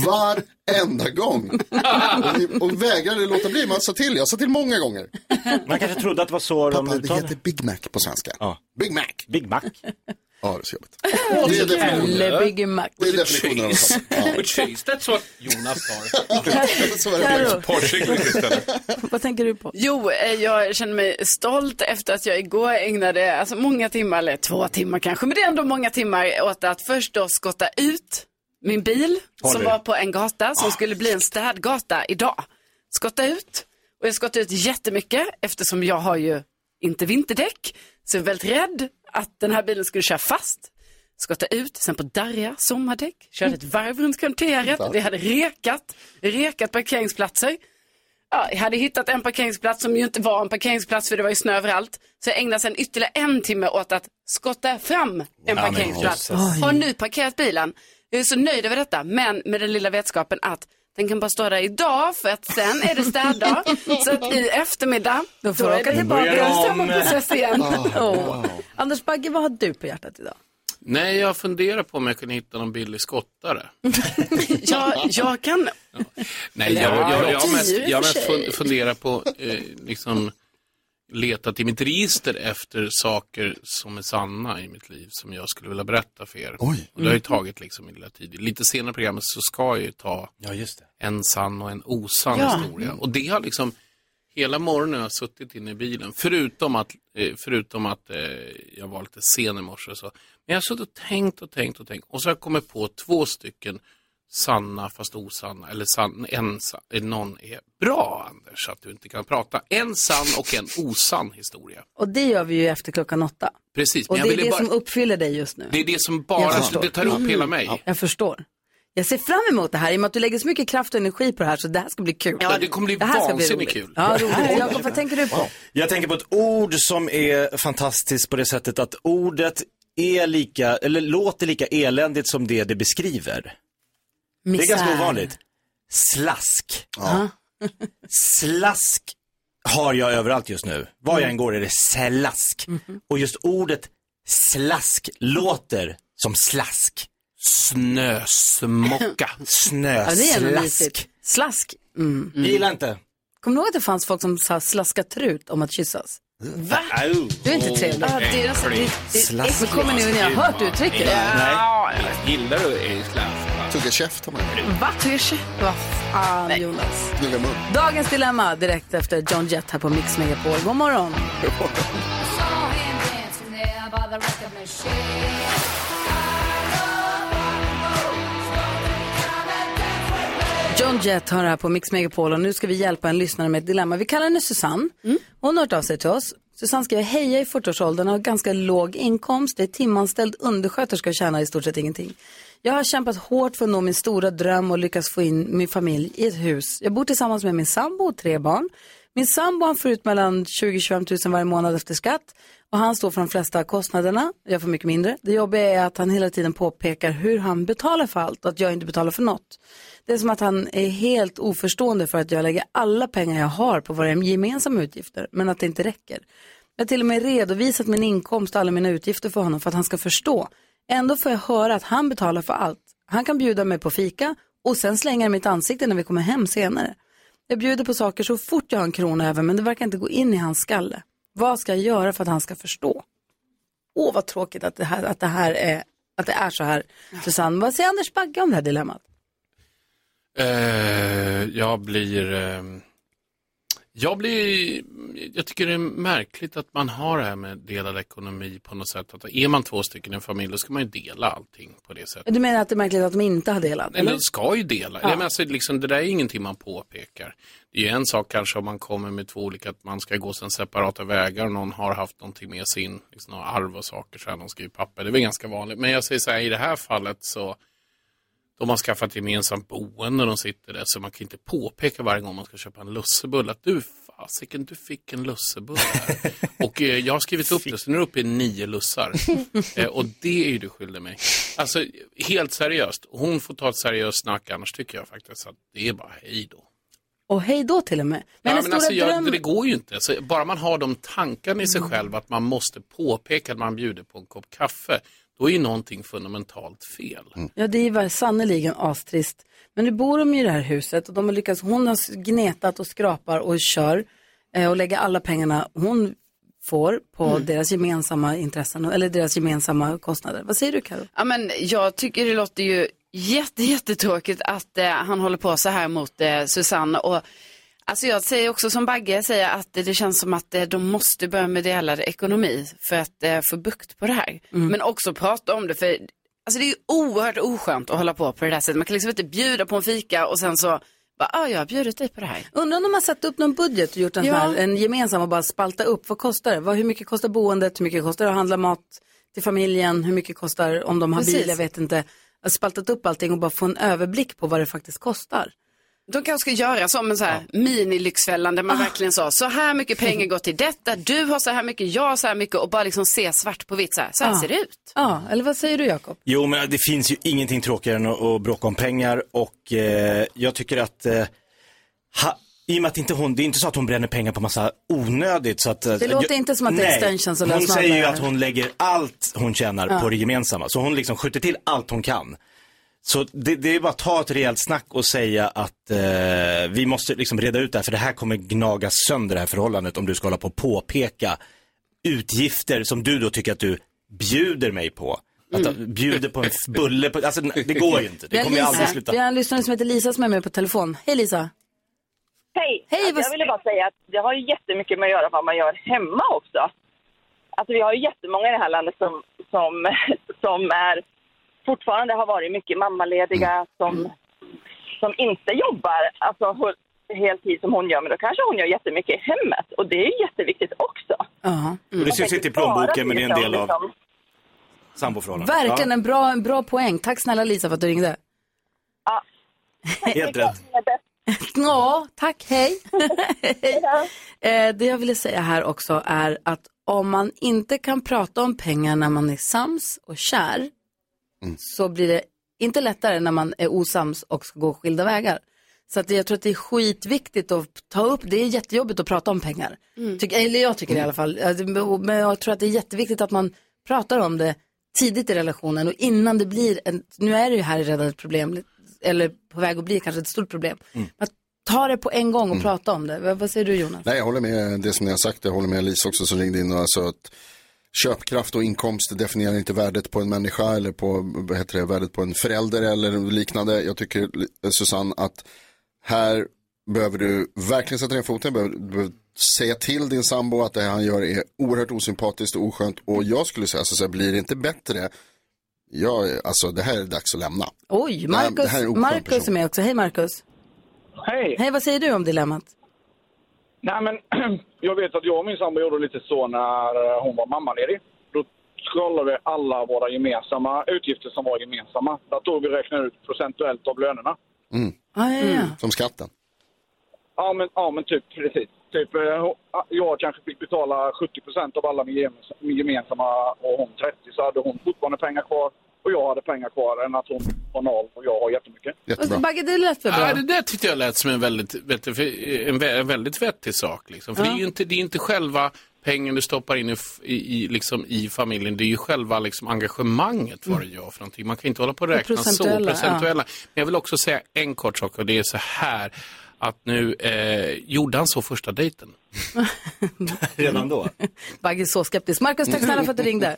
D: Varenda gång. Och, vi- och vägrade låta bli, man sa till, jag sa till många gånger.
B: Man kanske trodde att det var så
D: Pappa, de det heter Big Mac på svenska. Big Mac.
B: Big Mac.
D: Ja, det är så jobbigt.
R: Det är
A: Kalle Biggie Mac.
D: Det är definitionen av en pappa.
R: With cheese, that's what Jonas tar.
A: Karo.
R: Porrkyckling istället.
A: Vad tänker du på?
F: Jo, eh, jag känner mig stolt efter att jag igår ägnade alltså, många timmar, eller två timmar kanske, men det är ändå många timmar åt att först då skotta ut min bil
R: Håll
F: som
R: i. Ah.
F: var på en gata som skulle bli en städgata idag. Skotta ut. Och jag skottade ut jättemycket eftersom jag har ju inte vinterdäck. Så jag är väldigt rädd att den här bilen skulle köra fast. Skotta ut, sen på darriga sommardäck. Körde
A: Mm.
F: ett varv runt kvarteret. Vi hade rekat, rekat parkeringsplatser. Ja, jag hade hittat en parkeringsplats som ju inte var en parkeringsplats för det var ju snö överallt. Så jag ägnade sedan ytterligare en timme åt att skotta fram en
R: Ja, men
F: parkeringsplats.
R: Jesus.
F: Har nu parkerat bilen. Jag är så nöjd över detta, men med den lilla vetskapen att den kan bara stå där idag för att sen är det städdag. så att i eftermiddag, då
A: får du åka
F: är det
A: tillbaka.
F: bara samma process igen.
D: Ah,
A: Anders Bagge, vad har du på hjärtat idag?
R: Nej, jag funderar på om jag kunde hitta någon billig skottare.
F: Jag, jag kan...
R: Nej, jag,
F: Ja,
R: jag, jag,
F: tio
R: har mest,
F: i och för
R: jag har mest
F: sig.
R: fun- funderat på, eh, liksom, letat i mitt register efter saker som är sanna i mitt liv som jag skulle vilja berätta för er. Och det har ju
J: Mm.
R: tagit liksom min lilla tid. Lite senare i programmet så ska jag ju ta en sann och en osann
J: Ja.
R: historia. Och det har liksom, hela morgonen har jag suttit inne i bilen, förutom att, eh, förutom att eh, jag var lite sen i morse och så. Men jag har suttit och tänkt och tänkt och tänkt och så har jag kommit på två stycken sanna fast osanna, eller sann, en, sa- eh, någon är bra Anders, så att du inte kan prata. En sann och en osann historia.
A: Och det gör vi ju efter klockan åtta.
R: Precis,
A: Och
R: men
A: det
R: jag
A: är
R: ville
A: det
R: bara,
A: som uppfyller dig just nu.
R: det är det som
A: Jag
R: bara,
A: förstår.
R: det tar upp hela
A: Mm.
R: mig.
A: Jag förstår. Jag ser fram emot det här i och med att du lägger så mycket kraft och energi på det här så det här ska bli kul.
R: Ja, det kommer bli
A: här ska
R: vansinnigt
A: roligt.
R: kul.
A: Ja, roligt. Jakob, vad tänker du på?
B: Jag tänker på ett ord som är fantastiskt på det sättet att ordet är lika, eller låter lika eländigt som det det beskriver. Det är ganska ovanligt. Slask. Slask har jag överallt just nu. Var jag än går är det slask. Och just ordet slask låter som slask.
R: Snösmocka.
A: Ja, det är ändå
B: Snöslask.
A: mysigt. Slask. Mm.
B: Jag Gillar inte.
A: Kommer du ihåg att det fanns folk som sa slaskat ut om att kyssas?
B: Va?
A: Du är inte trevlig.
R: Ja, det är alltså- det- det är
A: Slask. äckligt. kommer nu när jag har hört uttrycket.
R: Ja. Gillar du slask?
D: Tugga käft har man
A: Va? Vad fan, Jonas.
D: Gnugga mun.
A: Dagens Dilemma direkt efter John Jett här på Mix Megapol. God morgon. John Jett har det här på Mix Megapol och nu ska vi hjälpa en lyssnare med ett dilemma. Vi kallar henne Susanne. Hon har hört av sig till oss. Susanne skriver, hej jag är i 40-årsåldern och har ganska låg inkomst. Det är timanställd undersköterska och tjänar i stort sett ingenting. Jag har kämpat hårt för att nå min stora dröm och lyckas få in min familj i ett hus. Jag bor tillsammans med min sambo och tre barn. Min sambo han får ut mellan 20-25 000 varje månad efter skatt och han står för de flesta kostnaderna. Jag får mycket mindre. Det jobbiga är att han hela tiden påpekar hur han betalar för allt och att jag inte betalar för något. Det är som att han är helt oförstående för att jag lägger alla pengar jag har på våra gemensamma utgifter men att det inte räcker. Jag har till och med redovisat min inkomst och alla mina utgifter för honom för att han ska förstå. Ändå får jag höra att han betalar för allt. Han kan bjuda mig på fika och sen slänga i mitt ansikte när vi kommer hem senare. Jag bjuder på saker så fort jag har en krona över men det verkar inte gå in i hans skalle. Vad ska jag göra för att han ska förstå? Åh, vad tråkigt att det här, att det här är, att det är så här. Susanne, vad säger Anders Bagge om det här dilemmat?
R: Eh, jag blir... ehm, jag blir... Jag tycker det är märkligt att man har det här med delad ekonomi på något sätt. Att är man två stycken i en familj då ska man ju dela allting på det sättet.
A: Du menar att det är märkligt att de inte har delat?
R: Nej,
A: eller?
R: man ska ju dela.
A: Ja.
R: Ja. Men alltså, liksom, det där är ingenting man påpekar. Det är ju en sak kanske om man kommer med två olika, att man ska gå sina separata vägar och någon har haft någonting med sin, liksom, några arv och saker så här, någon skriver papper. Det är väl ganska vanligt. Men jag säger så här, i det här fallet så de har skaffat gemensamt boende och de sitter där så man kan inte påpeka varje gång man ska köpa en lussebulle att du fasiken, du fick en lussebulle här. Och eh, jag har skrivit upp det, så nu är det uppe i nio lussar. Eh, och det är ju du skyldig mig. Alltså, helt seriöst, hon får ta ett seriöst snack, annars tycker jag faktiskt att det är bara hej då.
A: Och hej då till och med.
R: ja,
A: Men den
R: men
A: stora
R: alltså, jag,
A: drömmen...
R: Det går ju inte. Så bara man har de tankarna i sig själv att man måste påpeka att man bjuder på en kopp kaffe, då är ju någonting fundamentalt fel.
A: Ja, det var sannerligen astrist. Men nu bor de ju i det här huset och de har lyckats, hon har gnetat och skrapar och kör eh, och lägger alla pengarna hon får på
F: Mm.
A: deras gemensamma intressen eller deras gemensamma kostnader. Vad säger du Karo?
F: Ja, men jag tycker det låter ju jätte, jättetråkigt att eh, han håller på så här mot eh, Susanne. Och, alltså jag säger också som Bagge säger att eh, det känns som att eh, de måste börja med delad ekonomi för att eh, få bukt på det här.
A: Mm.
F: Men också prata om det för alltså, det är ju oerhört oskönt att hålla på på det där sättet. Man kan liksom inte bjuda på en fika och sen så bara, ah, jag har bjudit dig på det här.
A: Undrar om de har satt upp någon budget och gjort en,
F: Ja.
A: sån här, en gemensam och bara spalta upp. Vad kostar det? Vad, hur mycket kostar boendet? Hur mycket kostar det att handla mat till familjen? Hur mycket kostar om de har bil?
F: Precis.
A: Jag vet inte. Jag har spaltat upp allting och bara få en överblick på vad det faktiskt kostar.
F: De kanske ska göra som en så här mini-Lyxfällan där
A: Ah.
F: man verkligen sa så här mycket pengar går till detta, du har så här mycket, jag har så här mycket och bara liksom se svart på vitt så här, så här
A: Ja.
F: ser det ut.
A: Ja, eller vad säger du Jakob?
B: Jo, men det finns ju ingenting tråkigare än att, att bråka om pengar och eh, jag tycker att eh, ha, i och med att inte hon, det är inte så att hon bränner pengar på massa onödigt så att... eh,
A: Det låter
B: jag-
A: inte som att det är extensions och
B: Hon
A: lösnamn
B: säger ju
A: där.
B: att hon lägger allt hon tjänar
A: Ja.
B: på det gemensamma, så hon liksom skjuter till allt hon kan. Så det, det är bara att ta ett rejält snack och säga att eh, vi måste liksom reda ut det här, för det här kommer gnaga sönder det här förhållandet om du ska hålla på och påpeka utgifter som du då tycker att du bjuder mig på. Att
A: Mm.
B: bjuder på en f- bulle, på, alltså nej, det går ju inte.
A: Vi
B: Det
A: har
B: kommer ju
A: Lisa.
B: aldrig sluta.
A: Vi har en lyssnare som heter Lisa som är med på telefon. Hej Lisa!
S: Hej! Alltså, jag ville bara säga att det har ju jättemycket med att göra vad man gör hemma också. Alltså vi har ju jättemånga i det här landet som, som, som är, fortfarande har varit mycket mammalediga som, som inte jobbar alltså, hu- heltid som hon gör. Men då kanske hon gör jättemycket i hemmet och det är ju jätteviktigt också.
A: Mm.
B: Och det syns inte i plånboken men det är en del av
S: Liksom,
B: samboförhållandet.
A: Verkligen
B: Ja.
A: en, bra, en bra poäng. Tack snälla Lisa för att du ringde.
B: Helt rätt.
A: Ja, tack, hej. Eh, det jag ville säga här också är att om man inte kan prata om pengar när man är sams och kär så blir det inte lättare när man är osams och ska gå skilda vägar. Så att det- jag tror att det är skitviktigt att ta upp, det är jättejobbigt att prata om pengar. Tyck, eller jag tycker det i alla fall. Alltså, Men jag tror att det är jätteviktigt att man pratar om det tidigt i relationen och innan det blir, en, nu är det ju här redan ett problem, eller på väg att bli kanske ett stort problem. Att ta det på en gång och
D: Mm.
A: prata om det. Vad, vad säger du Jonas?
D: Nej, jag håller med det som ni har sagt. Jag håller med Lisa också som ringde in. och Alltså att köpkraft och inkomst definierar inte värdet på en människa eller på vad heter det, värdet på en förälder eller liknande. Jag tycker eh, Susanne att här behöver du verkligen sätta ner foten. Behöver, du behöver säga till din sambo att det här han gör är oerhört osympatiskt och oskönt. Och jag skulle säga så här, blir det inte bättre? Ja, alltså det här är dags att lämna.
A: Oj,
D: Det här- det
A: Marcus,
D: här är en oskön
A: Marcus är med också. Hej Marcus.
T: Hej.
A: Hej, vad säger du om dilemmat?
T: Nej, men jag vet att jag och min sambo gjorde lite så när eh, hon var mammaledig. Då kollade vi alla våra gemensamma utgifter som var gemensamma. Där tog vi och räknade ut procentuellt av lönerna.
D: Mm.
A: Mm.
D: Som skatten.
T: Ja, men, ja, men typ precis. Typ, eh, jag kanske fick betala 70 procent av alla min gemens- min gemensamma och hon 30 så hade hon fortfarande pengar kvar och jag hade pengar kvar än att hon har noll och jag har jättemycket.
A: Bagge, det lät väl bra?
R: Ja, det där tyckte eh, jag lät som en väldigt, vet du, för- en vä- en väldigt vettig sak. Liksom. För
A: Ja.
R: det är ju inte, det är inte själva pengen du stoppar in i, f- i, i, liksom, i familjen, det är ju själva liksom, engagemanget vad du gör för någonting. Man kan inte hålla på och
U: Och
R: räkna så
U: procentuella,
R: procentuella. Men jag vill också säga en kort sak och det är så här att nu eh, gjorde han så första dejten. Redan då?
A: Bagge är så skeptisk. Markus, tack snälla för att du ringde.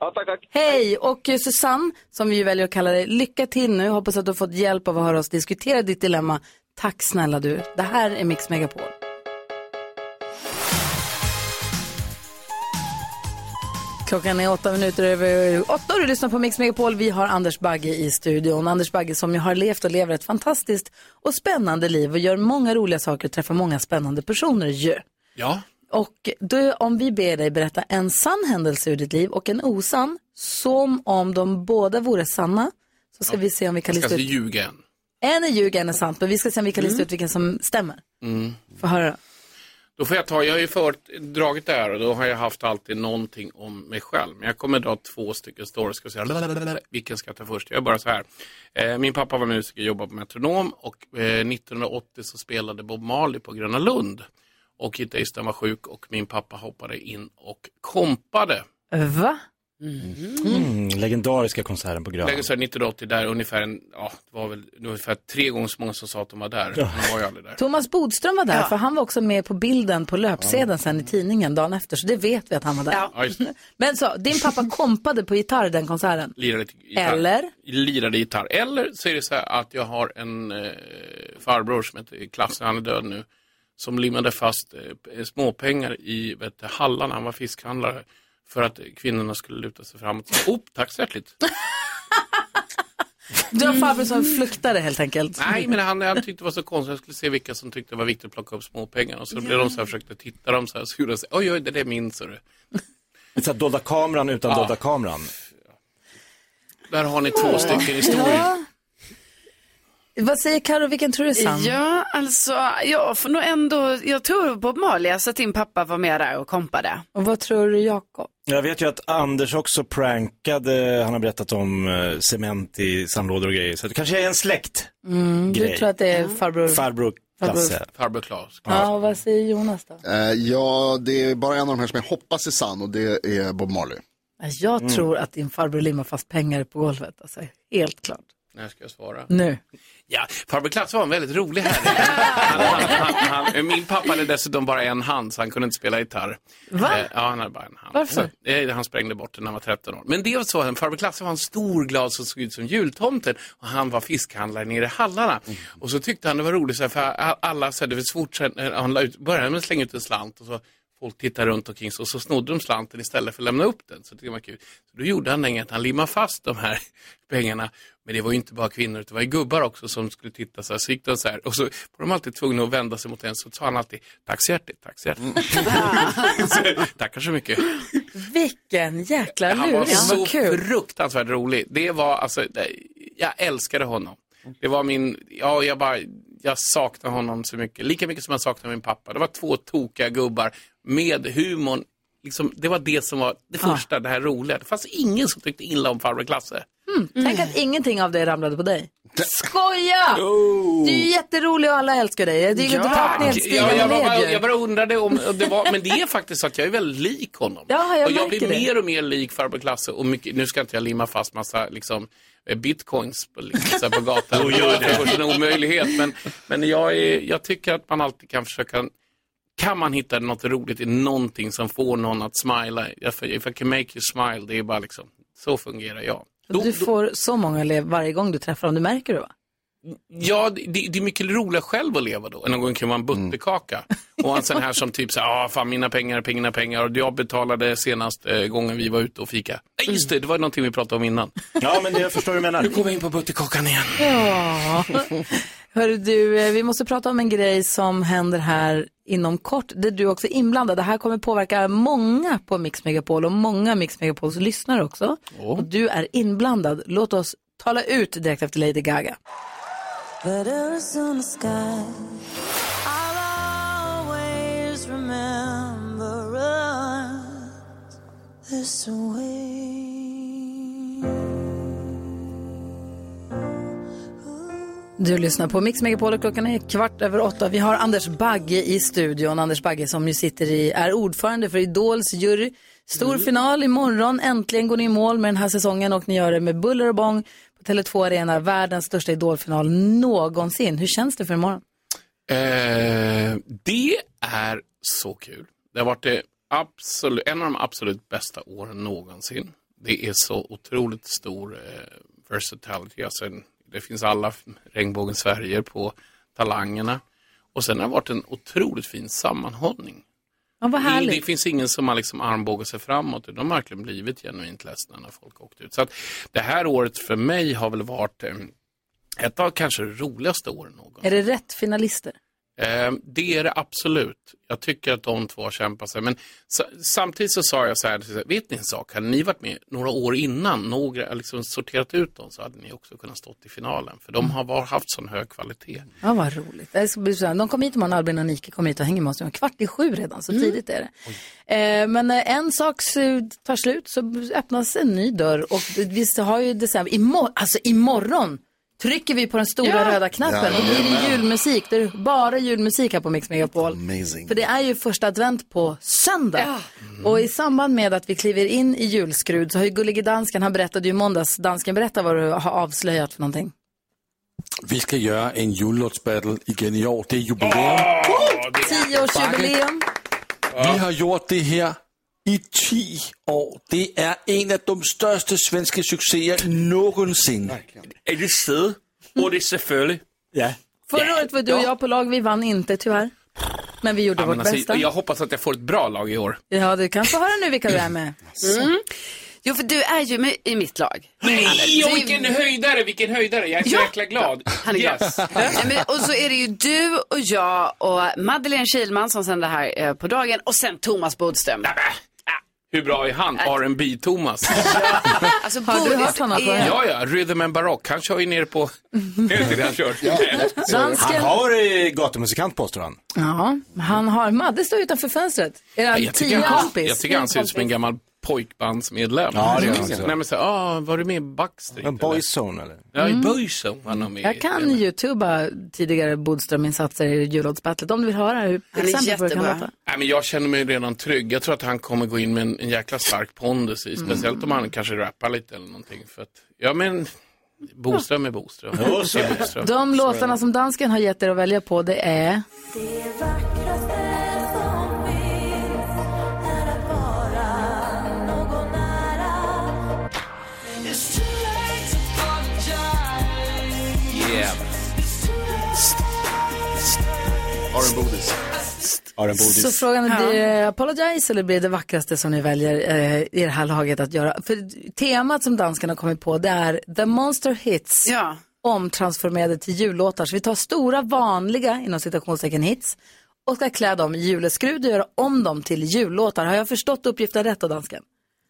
T: Ja, tack, tack.
A: Hej! Och eh, Susanne, som vi ju väljer att kalla dig, lycka till nu. Hoppas att du har fått hjälp av att höra oss diskutera ditt dilemma. Tack snälla du. Det här är Mix Megapol. Klockan är åtta minuter över åtta och du lyssnar på Mix Megapol. Vi har Anders Bagge i studion. Anders Bagge som ju har levt och lever ett fantastiskt och spännande liv och gör många roliga saker och träffar många spännande personer ju.
R: Ja.
A: Och då, om vi ber dig berätta en sann händelse ur ditt liv och en osann, som om de båda vore sanna, så ska vi se om vi kan
R: Jag ska
A: lista
R: inte
A: ut.
R: ljuga än.
A: En är ljug, en är sant, men vi ska se om vi kan lista
R: Mm.
A: ut vilken som stämmer.
R: Mm.
A: Få höra.
R: Då får jag ta, jag har ju föredragit det här och då har jag haft alltid någonting om mig själv. Men jag kommer dra två stycken stories och säga lalalala, vilken ska jag ta först? Jag är bara så här. Eh, min pappa var musiker och jobbade på Metronom och eh, 1980 så spelade Bob Marley på Gröna Lund. Och gitarristen var sjuk och min pappa hoppade in och kompade
A: Va?
B: Mm, legendariska konserten på Grönan.
R: Lägger så här 1980 där ungefär, en, ja, det var väl ungefär tre gånger så många som sa att de var där.
B: Ja.
R: De var ju aldrig där.
A: Thomas Bodström var där, för han var också med på bilden på löpsedeln sen i tidningen dagen efter, så det vet vi att han var där.
R: Ja, just det.
A: Men så, din pappa kompade på gitarr den konserten.
R: Lirade lite gitarr.
A: Eller?
R: Lirade gitarr. Eller så är det så här att jag har en eh, farbror som heter Klasse, han är död nu, som limmade fast eh, p- småpengar i vet, du, hallarna, han var fiskhandlare, för att eh, kvinnorna skulle luta sig framåt. Så, Oh, tack så hjärtligt.
A: Du har farbror som fluktade helt enkelt.
R: Mm. Nej, men han, han tyckte det var så konstigt. Jag skulle se vilka som tyckte det var viktigt att plocka upp småpengar. Och så
B: Ja.
R: blev de så här, försökte titta dem så här, så gjorde de så här, oj, oj, det där är min, så du.
B: Så här, dolda kameran utan dolda kameran.
R: Där har ni två stycken historier.
A: Ja. Vad säger Karo, vilken tror du är sann?
F: Ja, alltså, jag får nog ändå, jag tror Bob Marley, alltså att din pappa var med där och kompade.
A: Och vad tror du Jakob?
B: Jag vet ju att Anders också prankade, han har berättat om eh, cement i sandlådor och grejer. Så det kanske är en släkt.
A: Mm, du
B: Grej.
A: tror att det är farbror?
B: Farbror Klasse.
R: Farbror Klas.
A: Ja, och vad säger Jonas då?
D: Eh, ja, det är bara en av de här som jag hoppas är sann och det är Bob Marley.
A: Alltså, Jag
D: Mm.
A: tror att din farbror limmar fast pengar på golvet, alltså, helt klart.
R: När ska jag svara?
A: Nu.
R: Ja, farbror Klasse var en väldigt rolig herre. Han, han, han, han, min pappa hade dessutom bara en hand, så han kunde inte spela gitarr.
A: Va?
R: Eh, Ja, han hade bara en hand.
A: Varför?
R: Eh, Han sprängde bort den när han var 13 år. Men det var så, farbror Klasse var en stor glad som såg ut som jultomten och han var fiskhandlare nere i hallarna. Och så tyckte han det var roligt, så här, för alla, så här, det var svårt, sen, eh, han la ut, började med att slänga ut en slant och så Folk tittade runt omkring sig och så snodde de slanten istället för att lämna upp den. Så det var kul. Så då gjorde han länge att han limmade fast de här pengarna. Men det var ju inte bara kvinnor, utan det var ju gubbar också som skulle titta så här. Så gick de så här och så var de alltid tvungna att vända sig mot en. Så sa han alltid, tack så hjärtligt, tack så hjärtligt. så, tackar så mycket.
A: Vilken jäkla
R: Han var
A: luring.
R: så
A: Vad kul.
R: fruktansvärt rolig. Det var alltså, det- jag älskade honom. Det var min, ja jag bara, jag saknar honom så mycket. Lika mycket som jag saknar min pappa. Det var två tokiga gubbar med humorn. Liksom, det var det som var det första, det här roliga. Det fanns ingen som tyckte illa om farbror Klasse.
A: Mm. Tänk att ingenting av det ramlade på dig. Skoja!
R: Jo.
A: Du är ju jätterolig och alla älskar dig. Det är ju inte
R: Tack!
A: att nedstigande
R: Ja, jag, bara,
A: led ju.
R: jag bara undrade om det var, men det är faktiskt så att jag är väldigt lik honom.
A: Ja, jag
R: och jag
A: märker
R: blir
A: det.
R: mer och mer lik farbror Klasse och mycket, nu ska inte jag limma fast massa liksom, eh, bitcoins på, liksom, så här på gatan.
B: Jo, gör det.
R: är förstås en omöjlighet. Men, men jag, är, jag tycker att man alltid kan försöka kan man hitta något roligt i någonting som får någon att smila? If I- if I can make you smile, det är bara liksom, så fungerar jag.
A: Du får så många lev varje gång du träffar dem, det märker du va?
R: Ja, det, det det är mycket roligare själv att leva då än att gå omkring och vara
B: Mm.
R: en butterkaka. Och en sån här som typ så här, ah, fan mina pengar, pengarna, pengar. Och jag betalade senast eh, gången vi var ute och fika. Nej, just det, det var någonting vi pratade om innan.
B: Ja, men jag förstår vad du menar.
R: Nu kommer jag in på butterkakan igen.
A: Ja. Hör du, eh, vi måste prata om en grej som händer här inom kort, där du också är inblandad. Det här kommer påverka många på Mix Megapol och många Mix Megapols lyssnare också. Och du är inblandad. Låt oss tala ut direkt efter Lady Gaga.
P: Better is in the sky. I'll always remember us this way.
A: Du lyssnar på Mix Megapol och klockan är kvart över åtta. Vi har Anders Bagge i studion. Anders Bagge som ju sitter i, är ordförande för Idols jury. Stor final imorgon. Äntligen går ni i mål med den här säsongen och ni gör det med buller och bång på Tele2 Arena. Världens största Idolfinal någonsin. Hur känns det för imorgon?
R: Eh, det är så kul. Det har varit det absolut, en av de absolut bästa åren någonsin. Det är så otroligt stor eh, versatility. Alltså, en- det finns alla f- regnbågens färger på talangerna. Och sen har det varit en otroligt fin sammanhållning.
A: Ja, vad
R: Det, det
A: härligt.
R: finns ingen som har liksom armbågat sig framåt. De har verkligen blivit genuint ledsna när folk åkt ut. Så att det här året för mig har väl varit eh, ett av kanske de roligaste åren
A: Är det rätt finalister?
R: Eh, Det är det absolut. Jag tycker att de två har kämpat sig. Men sa- samtidigt så sa jag så här, så här, vet ni en sak? Hade ni varit med några år innan, några, liksom sorterat ut dem, så hade ni också kunnat stått i finalen. För de har var, haft sån hög kvalitet.
A: Ja, vad roligt. Det ska bli så här. De kom hit imorgon, Albin och Nike kom hit och hänger med oss. nu. Kvart i sju redan, så tidigt är det. Eh, men eh, en sak så tar slut så öppnas en ny dörr och vi har ju december, imorgon, alltså imorgon trycker vi på den stora
G: Ja.
A: röda knappen och då blir det julmusik. Det är bara julmusik här på Mix Megapol. För det är ju första advent på söndag. Och i samband med att vi kliver in i julskrud så har ju Gullige Dansken, han berättade ju i måndags, Dansken berätta vad du har avslöjat för någonting.
J: Vi ska göra en jullåtsbattle igen i år. Det är jubileum.
A: Tioårsjubileum.
J: Vi har gjort det här i 10 år. Det är en av de största svenska succéer någonsin.
U: Är du søde? Och det är selvfølgelig. Ja.
A: Förra året var du och jag på lag, vi vann inte tyvärr. Men vi gjorde
U: Ja,
A: vårt
U: men alltså,
A: bästa.
U: och
R: Jag hoppas att jag får ett bra lag i år.
A: Ja, du kan få höra nu vilka du är med.
F: Mm. Jo, för du är ju med i mitt lag.
R: Nej,
F: Du-
R: och vilken höjdare, vilken höjdare. Jag är så
F: Ja.
R: jäkla glad.
F: Han är glad. Nej, men, och så är det ju du och jag och Madeleine Kilman som sänder här eh, på dagen och sen Thomas Bodström.
R: Hur bra är han? R&B thomas
F: Alltså,
A: Har du
F: Bodis
A: hört honom på-
F: är-
R: Ja, ja, Rhythm and Barock. Han kör ju ner på... Jag vet inte, han kör.
A: Dansken.
B: Han har eh, gatumusikant påstår han.
A: Ja, han har, Madde står utanför fönstret. Är
R: jag,
A: det
R: tycker han,
A: kompis?
R: jag tycker han ser ut som en gammal pojkbandsmedlem.
B: Ja, det gör han också.
R: Nej, men så, här, ah, var du med i Backstreet? En
B: Boyzone eller?
R: Ja, i
A: Mm.
R: Boyzone var han var med.
A: Jag kan youtuba tidigare Bodström-insatser i jullåtsbattlet om du vill höra hur
F: är
A: exempel på hur det kan
F: jättebra.
A: låta.
R: Nej, men jag känner mig redan trygg. Jag tror att han kommer gå in med en, en jäkla stark pondus i.
F: Mm.
R: Speciellt om han kanske rappar lite eller någonting. För att, ja, men Boström är Boström.
B: Ja, så är det.
R: Boström.
A: De
R: Så är
A: låtarna
R: det.
A: som dansken har gett er att välja på det är...
U: Yeah.
R: Aron Bodis.
B: Aron
A: Så frågan är, blir det Apologize eller blir det vackraste som ni väljer eh, i det här laget att göra? För temat som danskarna har kommit på det är The Monster Hits omtransformerade till jullåtar. Så vi tar stora vanliga, inom citationstecken, hits och ska klä dem i juleskrud och göra om dem till jullåtar. Har jag förstått uppgiften rätt då, dansken?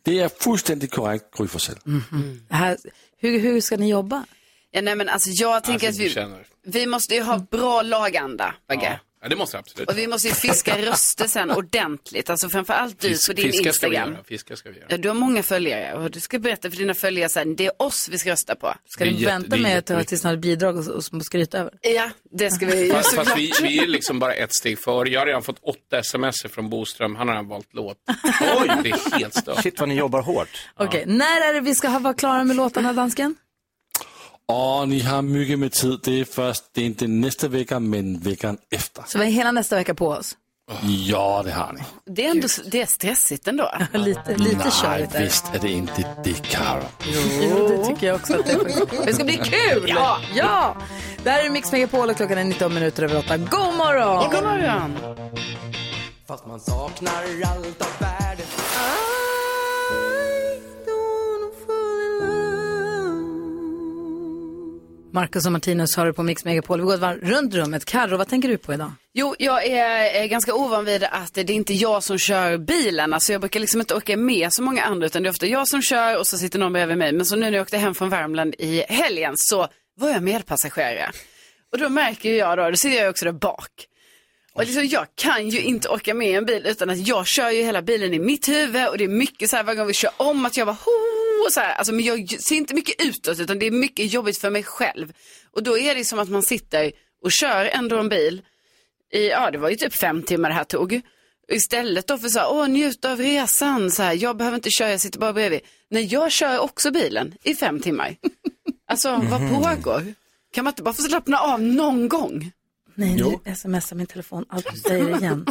J: Det är fullständigt korrekt, Gry Forssell. Mhm.
A: Det Här, hur, hur ska ni jobba?
F: Ja, nej, men alltså, jag tänker att
J: Alltså, du
F: vi,
J: känner.
F: vi måste ju ha bra laganda, Bagge.
R: Ja, det måste jag absolut.
F: Och vi måste ju fiska röster sen ordentligt. Alltså framförallt du på din
R: fiska ska vi
F: Instagram.
R: göra. Fiska ska vi göra.
F: Ja, du har många följare och du ska berätta för dina följare sen, det är oss vi ska rösta på.
A: Ska
R: Det är
A: du
R: jätte-
A: vänta
R: det är
A: med att höra
R: jätteviktigt.
A: tills ni har bidrag och, och, och skryta över?
F: Ja, det ska vi ju
R: Fast,
F: såklart.
R: fast vi, vi är liksom bara ett steg före. Jag har redan fått åtta sms från Boström. Han har redan valt låt. Oj, det är helt stört.
B: Shit vad ni jobbar hårt.
A: Okej, när är det vi ska ha, vara klara med låtarna, dansken?
J: Och ni har mycket med tid. Det är först, det är inte nästa vecka, men veckan efter.
A: Så vi har hela nästa vecka på oss.
J: Ja, det har ni.
F: Det är, ändå, det är stressigt ändå.
A: lite lite
J: Nej,
A: körigt är det.
J: visst är det inte det, Karo.
A: Jo, det tycker jag också att det är. Det ska bli kul!
F: Ja!
A: ja! Det här är Mix Megapol och klockan är 19 minuter över 8. God morgon!
F: God morgon!
P: Fast man saknar allt av värde
A: Marcus och Martinus hör på Mix Megapol. Vi går ett varv runt rummet. Carro, vad tänker du på idag?
F: Jo, jag är eh, ganska ovan vid att det är inte jag som kör bilen. Alltså jag brukar liksom inte åka med så många andra utan det är ofta jag som kör och så sitter någon bredvid mig. Men så nu när jag åkte hem från Värmland i helgen så var jag medpassagerare. Och då märker ju jag då, då sitter jag ju också där bak. Och liksom, jag kan ju inte åka med i en bil utan att jag kör ju hela bilen i mitt huvud och det är mycket så här varje gång vi kör om att jag bara ho, och så här, alltså, men jag ser inte mycket utåt utan det är mycket jobbigt för mig själv. Och då är det som att man sitter och kör ändå en bil i, ja det var ju typ fem timmar det här tog. Istället då för så här, åh njut av resan, så här, jag behöver inte köra, jag sitter bara bredvid. Nej, jag kör också bilen i fem timmar. Alltså, vad
A: Mm-hmm.
F: pågår? Kan man inte bara få slappna av någon gång?
A: Nej,
F: Jo.
A: nu smsar min telefon allt du säger igen.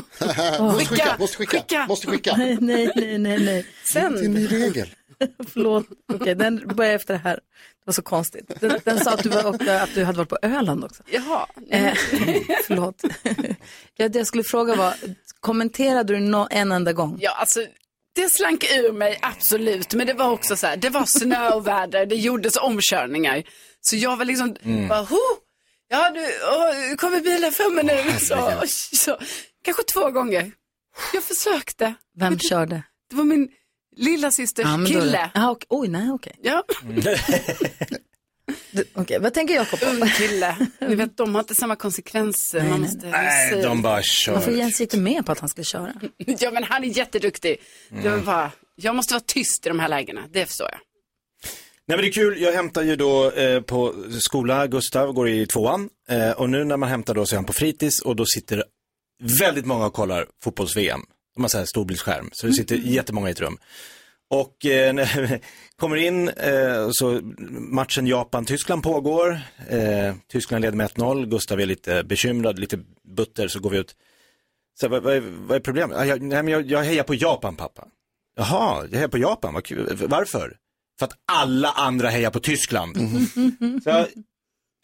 A: Åh.
F: Måste skicka, måste skicka, måste skicka.
A: Nej, nej, nej, nej. nej. Sen... Det är en ny regel. Förlåt, okej, den börjar efter det här. Det var så konstigt. Den, den sa att du, var, och, att du hade varit på Öland också.
F: Jaha.
A: Eh, förlåt. ja, det jag skulle fråga var, kommenterade du nå en enda gång?
F: Ja, alltså det slank ur mig absolut, men det var också så här, det var snö och väder, det gjordes omkörningar. Så jag var liksom,
A: Mm.
F: bara, ho, ja nu åh, kommer bilen framme nu. Så,
A: herregud.
F: så, kanske två gånger. Jag försökte.
A: Vem körde?
F: Det var min lilla systers
A: Ja, men då-
F: kille.
A: Ah, ok- Oj, nej, okej. Mm.
F: Ja.
A: Du, okej, Vad tänker Jakob på?
F: Ung kille. Ni vet, de har inte samma konsekvenser. Man måste
B: Nej, de bara kör.
A: Varför Jens gick du med på att han skulle köra?
F: Ja, men han är jätteduktig. Jag,
D: Mm.
F: var bara, jag måste vara tyst i de här lägena, det förstår jag.
B: Nej men det är kul, jag hämtar ju då eh, på skola, Gustav går i tvåan eh, och nu när man hämtar då så är han på fritids och då sitter väldigt många och kollar fotbolls-VM. De har så här storbildsskärm, så det sitter jättemånga i ett rum. Och eh, när vi kommer in eh, så matchen Japan-Tyskland pågår. Eh, Tyskland leder med 1-0, Gustav är lite bekymrad, lite butter, så går vi ut. Så, vad, vad, är, vad är problemet? Ah, jag, nej, men jag, jag hejar på Japan pappa. Jaha, jag hejar på Japan, vad kul. varför? För att alla andra hejar på Tyskland.
A: Mhm.
B: Så jag,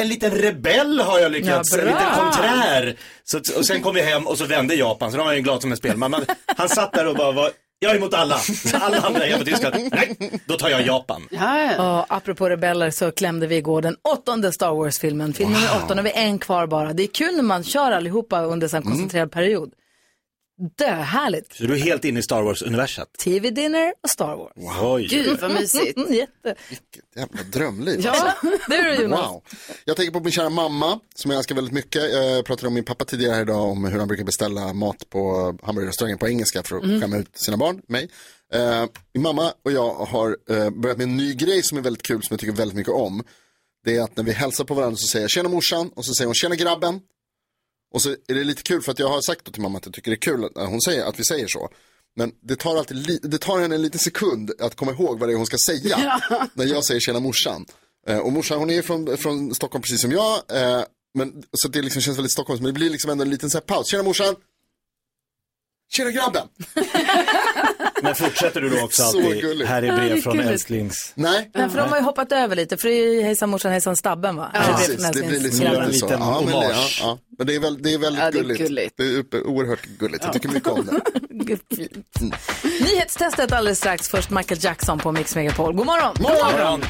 B: en liten rebell har jag lyckats,
N: Ja,
B: en
N: bra.
B: liten konträr. Så, att- och sen kom vi hem och så vände Japan, så då var jag ju glad som en spelman. Men Han satt där och bara var, jag är emot alla, alla andra hejar på Tyskland. Nej, då tar jag Japan.
A: Ja, apropå rebeller så klämde vi igår den åttonde Star Wars-filmen. Filmen är
B: Wow.
A: åttonde, vi är en kvar bara. Det är kul när man kör allihopa under en sån koncentrerad period. Döhärligt.
B: Så du är helt inne i Star Wars-universat.
A: TV-dinner och Star Wars.
B: Wow.
F: Gud, vad mysigt.
A: Jätte.
D: Jävla drömliv.
A: Ja,
D: alltså.
A: det är det, Jonas.
D: Wow. Jag tänker på min kära mamma som jag älskar väldigt mycket. Jag pratade om min pappa tidigare här idag om hur han brukar beställa mat på hamburgerrestaurangen på engelska för att
V: Mm.
D: skämma ut sina barn, mig. Eh, min mamma och jag har eh, börjat med en ny grej som är väldigt kul som jag tycker väldigt mycket om. Det är att när vi hälsar på varandra så säger jag tjena morsan och så säger hon tjena grabben. Och så är det lite kul för att jag har sagt då till mamma att jag tycker det är kul att, hon säger, att vi säger så. Men det tar, alltid li- det tar henne en liten sekund att komma ihåg vad det är hon ska säga när jag säger tjena morsan. Eh, och morsan hon är ju från, från Stockholm precis som jag. Eh, men, så det liksom känns väldigt Stockholms men det blir liksom ändå en liten så här paus. Tjena morsan! Tjena grabben!
B: Men fortsätter du då också
D: Så
B: alltid,
D: gulligt.
B: här är
A: Ja, det är
B: brev från
A: gulligt.
B: älsklings...
D: Nej.
A: Nej, för de har ju hoppat över lite, för det är ju hejsan morsan, hejsan stabben va? Eller
D: precis,
A: från
D: det blir
A: Hälsinglands-
D: liksom
B: grabben.
D: lite så.
B: En liten
D: Ja, men, det- ja,
B: hommage.
D: ja. men det är, väl, det är väldigt
A: Ja, det är
D: gulligt.
A: gulligt.
D: Det är uppe- oerhört gulligt. Jag tycker mycket om det.
A: Nyhetstestet alldeles strax. Först Michael Jackson på Mix Megapol. God morgon!
N: God morgon!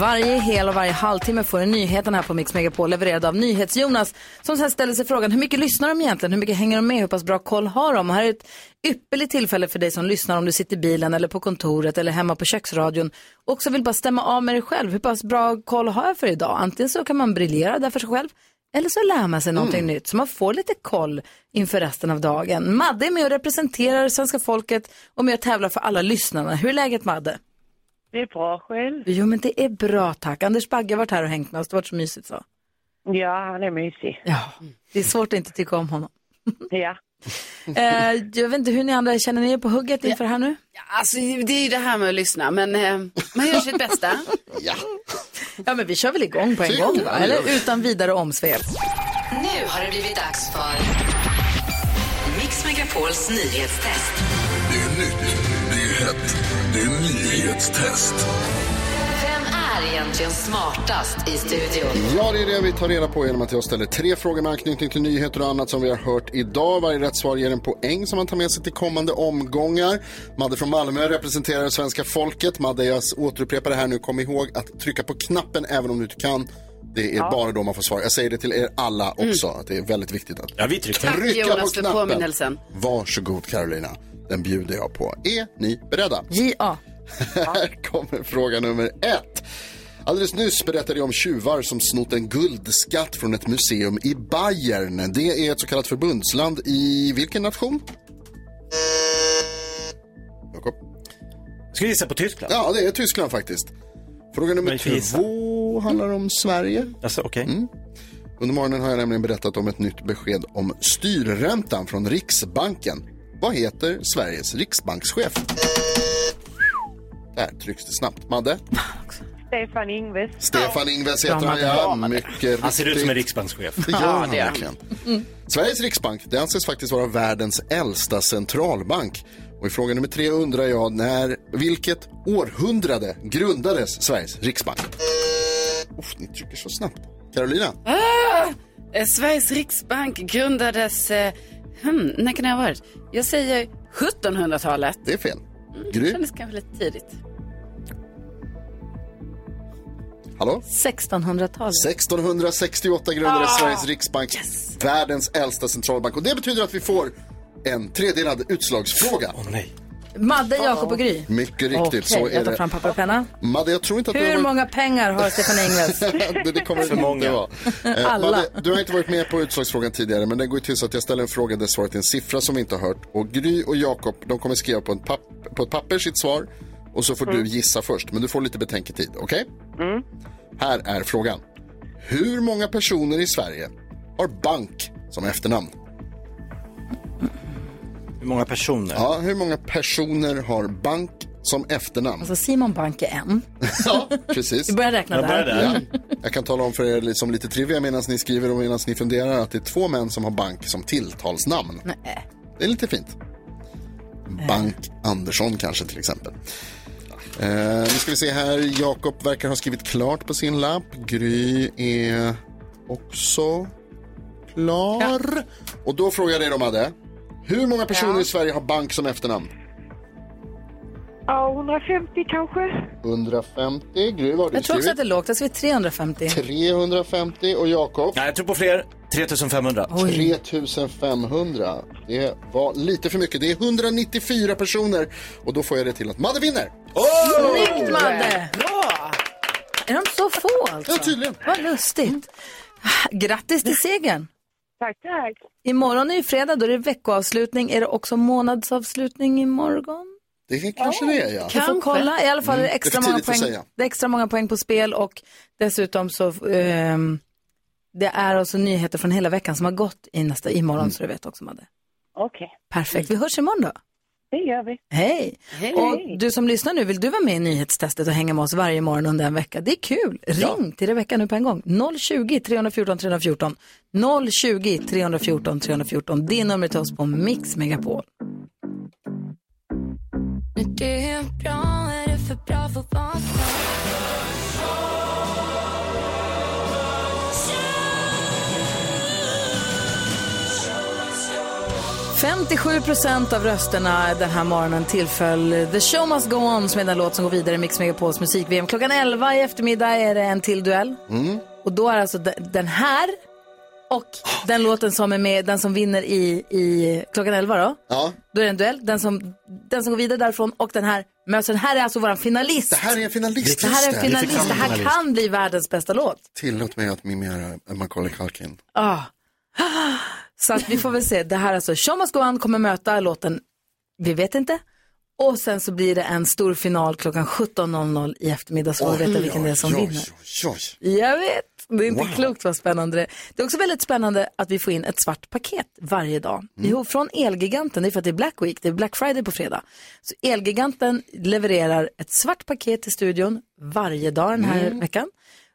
A: Varje hel och varje halvtimme får du nyheterna här på Mix Megapol levererad av NyhetsJonas som sen ställer sig frågan hur mycket lyssnar de egentligen? Hur mycket hänger de med? Hur pass bra koll har de? Och här är ett ypperligt tillfälle för dig som lyssnar om du sitter i bilen eller på kontoret eller hemma på köksradion och också vill bara stämma av med dig själv. Hur pass bra koll har jag för idag? Antingen så kan man briljera där för sig själv eller så lär man sig någonting nytt så man får lite koll inför resten av dagen. Madde är med och representerar svenska folket och med och tävlar för alla lyssnarna. Hur är läget Madde?
W: Det är bra själv.
A: Jo, men det är bra tack. Anders Bagge har varit här och hängt med oss. Det har varit så mysigt så.
W: Ja, han är mysig.
A: Ja. Det är svårt att inte tycka om honom.
W: Ja.
A: Eh, jag vet inte hur ni andra känner ni er på hugget inför det här nu?
F: Alltså det är ju det här med att lyssna, men eh, man gör sitt bästa.
D: ja.
A: Ja, men vi kör väl igång på en gång, va? Eller utan vidare omsvep.
E: Nu har det blivit dags för Mix Megapols nyhetstest.
N: Det är nytt, det är hett, det är nyhetstest.
E: Vem är egentligen smartast i studion?
D: Ja, det är det vi tar reda på genom att jag ställer tre frågor med anknytning till nyheter och annat som vi har hört idag. Varje rätt svar ger en poäng som man tar med sig till kommande omgångar. Madde från Malmö representerar svenska folket. Madde, jag återupprepar det här nu. Kom ihåg att trycka på knappen även om du inte kan. Det är
W: Ja.
D: bara då man får svar. Jag säger det till er alla också. Att det är väldigt viktigt att
B: ja, vi trycker.
D: trycka
F: Tack,
D: på
F: Jonas, för
D: knappen.
F: påminnelsen.
D: Varsågod Carolina, den bjuder jag på. Är ni beredda?
A: Ja.
D: Här kommer fråga nummer ett. Alldeles nyss berättade jag om tjuvar som snott en guldskatt från ett museum i Bayern. Det är ett så kallat förbundsland i vilken nation? Jakob?
B: Jag skulle gissa på Tyskland.
D: Ja, det är Tyskland faktiskt. Fråga nummer
B: Men får gissa.
D: två handlar om Sverige.
B: Alltså, okej.
D: Mm. Under morgonen har jag nämligen berättat om ett nytt besked om styrräntan från Riksbanken. Vad heter Sveriges riksbankschef? Där trycks det snabbt. Madde?
K: Stefan Ingves.
D: Stefan Ingves heter han, ja. Mycket
B: Han ser ut
D: riktigt.
B: som en riksbankschef.
D: Det gör han verkligen.
A: Mm.
D: Sveriges Riksbank, det anses faktiskt vara världens äldsta centralbank. Och i fråga nummer tre undrar jag när, vilket århundrade grundades Sveriges Riksbank? Uff, ni trycker så snabbt. Carolina?
F: Ah! Eh, Sveriges Riksbank grundades... Eh, hmm, när kan det ha varit? Jag säger 1700-talet.
D: Det är fel.
F: Det
D: Gry?
F: kändes kanske lite tidigt.
D: Hallå?
A: 1600-talet.
D: 1668 grundades
A: Ah!
D: Sveriges Riksbank, världens äldsta centralbank. Och det betyder att vi får en tredelad utslagsfråga.
A: Madde, Jakob och Gry.
D: Mycket riktigt,
A: Okej,
D: så är
A: jag tar
D: det.
A: fram papper och penna.
D: Madde, jag tror inte att du
A: Hur
D: har
A: många pengar har Stefan Ingves?
D: det, det kommer
A: För
D: det
A: många.
D: inte vara. Eh,
A: Alla.
D: Madde, du har inte varit med på utslagsfrågan tidigare, men det går ju till så att jag ställer en fråga där svaret är en siffra som vi inte har hört. Och Gry och Jakob, de kommer skriva på, en papp, på ett papper sitt svar och så får
A: Mm.
D: du gissa först. Men du får lite betänketid, okej? Här är frågan. Hur många personer i Sverige har bank som efternamn?
B: Hur många personer?
D: Ja, hur många personer har bank som efternamn?
A: Alltså Simon Bank är en.
D: Ja, precis.
A: Vi börjar räkna Jag börjar där. Mm. där.
D: Ja. Jag kan tala om för er som lite trivia medan ni skriver och medan ni funderar att det är två män som har bank som tilltalsnamn.
A: Nej.
D: Det är lite fint.
A: Eh.
D: Bank Andersson kanske till exempel. Eh, nu ska vi se här. Jakob verkar ha skrivit klart på sin lapp. Gry är också klar. Och då frågar jag dig då, Madde. Hur många personer i Sverige har bank som efternamn?
K: Ja, 150 kanske.
D: 150. Gry, vad har du
A: Jag tror också
D: skrivit?
A: att det är lågt. Jag skrev 350.
D: 350 och Jakob?
B: Nej, jag tror på fler. 3500.
D: 3500. Det var lite för mycket. Det är 194 personer och då får jag det till att Madde vinner.
A: Snyggt Madde! Bra! Är de så få alltså? Ja,
D: tydligen.
A: Vad lustigt. Grattis till segern!
K: Tack, tack.
A: Imorgon är ju fredag, då är det veckoavslutning. Är det också månadsavslutning imorgon?
D: Det är kanske det är, ja.
A: Du får kolla. I alla fall är det
D: Mm.
A: extra,
D: är för
A: många
D: tidigt att
A: poäng,
D: säga.
A: det är extra många poäng på spel och dessutom så ehm, det är alltså nyheter från hela veckan som har gått i nästa imorgon
D: Mm.
A: så du vet också Madde.
K: Okej,
A: Perfekt, vi hörs imorgon då.
K: det gör vi.
A: Hej!
K: Hej.
A: Och du som lyssnar nu, vill du vara med i nyhetstestet och hänga med oss varje morgon under en vecka? Det är kul! Ring till Rebecka nu på en gång. 020-314 314. 020-314 314. Det är numret till oss på Mix Megapol.
E: Det är bra, är det för bra för att vara sant?
A: 57 procent av rösterna den här morgonen tillföll The Show Must Go On som är den låt som går vidare i Mix Megapols musik-VM. Klockan 11 i eftermiddag är det en till duell.
D: Mm.
A: Och då är alltså de- den här och den låten som är med, den som vinner i, i klockan 11 då.
D: Ja.
A: Då är det en duell. Den som, den som går vidare därifrån och den här möts. Den här är alltså våran finalist. Det
D: här är en finalist.
A: Det här är
D: Just
A: en
D: det. Vi fick
A: finalist.
D: fram
A: Det
D: en
A: här
D: finalist.
A: kan bli världens bästa låt.
D: Tillåt mig att mimera Macaulay Culkin.
A: Ah. Så att vi får väl se. Det här alltså, Show Must Go On kommer möta låten Vi vet inte. Och sen så blir det en stor final klockan 17.00 i eftermiddag så får vi veta vilken det är som vinner.
D: Oj,
A: Jag vet, det är inte
D: Wow.
A: klokt vad spännande det är. Det är också väldigt spännande att vi får in ett svart paket varje dag. Jo, från Elgiganten, det är för att det är Black Week, det är Black Friday på fredag. Så Elgiganten levererar ett svart paket till studion varje dag den här
K: Mm.
A: veckan.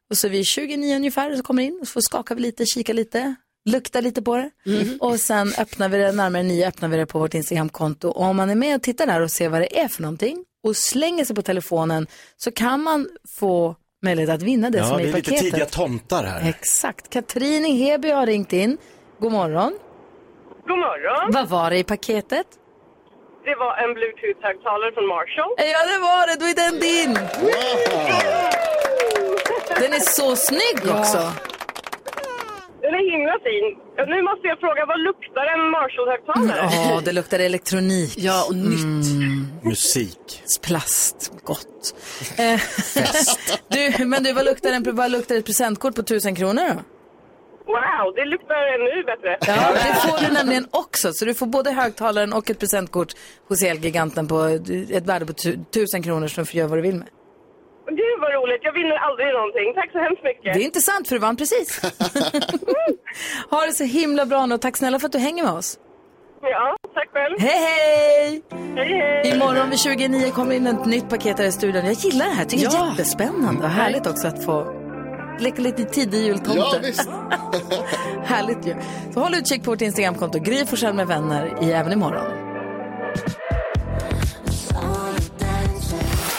A: Och så vid 29 ungefär så kommer in, så får skaka vi lite, kika lite, lukta lite på det. Och sen öppnar vi det, närmare nio öppnar vi det på vårt Instagramkonto. Och om man är med och tittar där och ser vad det är för någonting och slänger sig på telefonen så kan man få möjlighet att vinna det
B: ja,
A: som är
B: vi
A: i
B: är lite
A: paketet.
B: tidiga tomtar här.
A: Exakt. Katrin i Heby har ringt in. God morgon.
L: God morgon.
A: Vad var det i paketet?
L: Det var en bluetooth-högtalare från Marshall.
A: Ja, det var det. Då är den din. Den är så snygg också.
L: Den är himla fin. Nu måste jag fråga, vad luktar en Marshall-högtalare?
A: Mm, Ja, det luktar elektronik. Ja, och nytt.
B: Mm. Musik.
A: Plast. Gott. Eh, du, men du, vad luktar, en, vad luktar ett presentkort på tusen kronor då?
L: Wow, det luktar ännu bättre.
A: Ja, det får du nämligen också. Så du får både högtalaren och ett presentkort hos Elgiganten på ett värde på tu- tusen kronor som du får göra vad du vill med.
L: Gud vad roligt, jag vinner aldrig någonting. Tack så hemskt mycket.
A: Det är inte sant för du vann precis. ha det så himla bra nu och tack snälla för att du hänger med oss.
L: Ja, tack själv.
A: Hej, hej!
L: Hej, hej!
A: Imorgon vid 29 kommer in ett nytt paket här i studion. Jag gillar det här, tycker det är jättespännande och härligt också att få leka lite tidig jultomte.
M: Ja, visst.
A: härligt ju. Så håll utkik på vårt Instagramkonto, Gry Forssell med vänner, i även imorgon.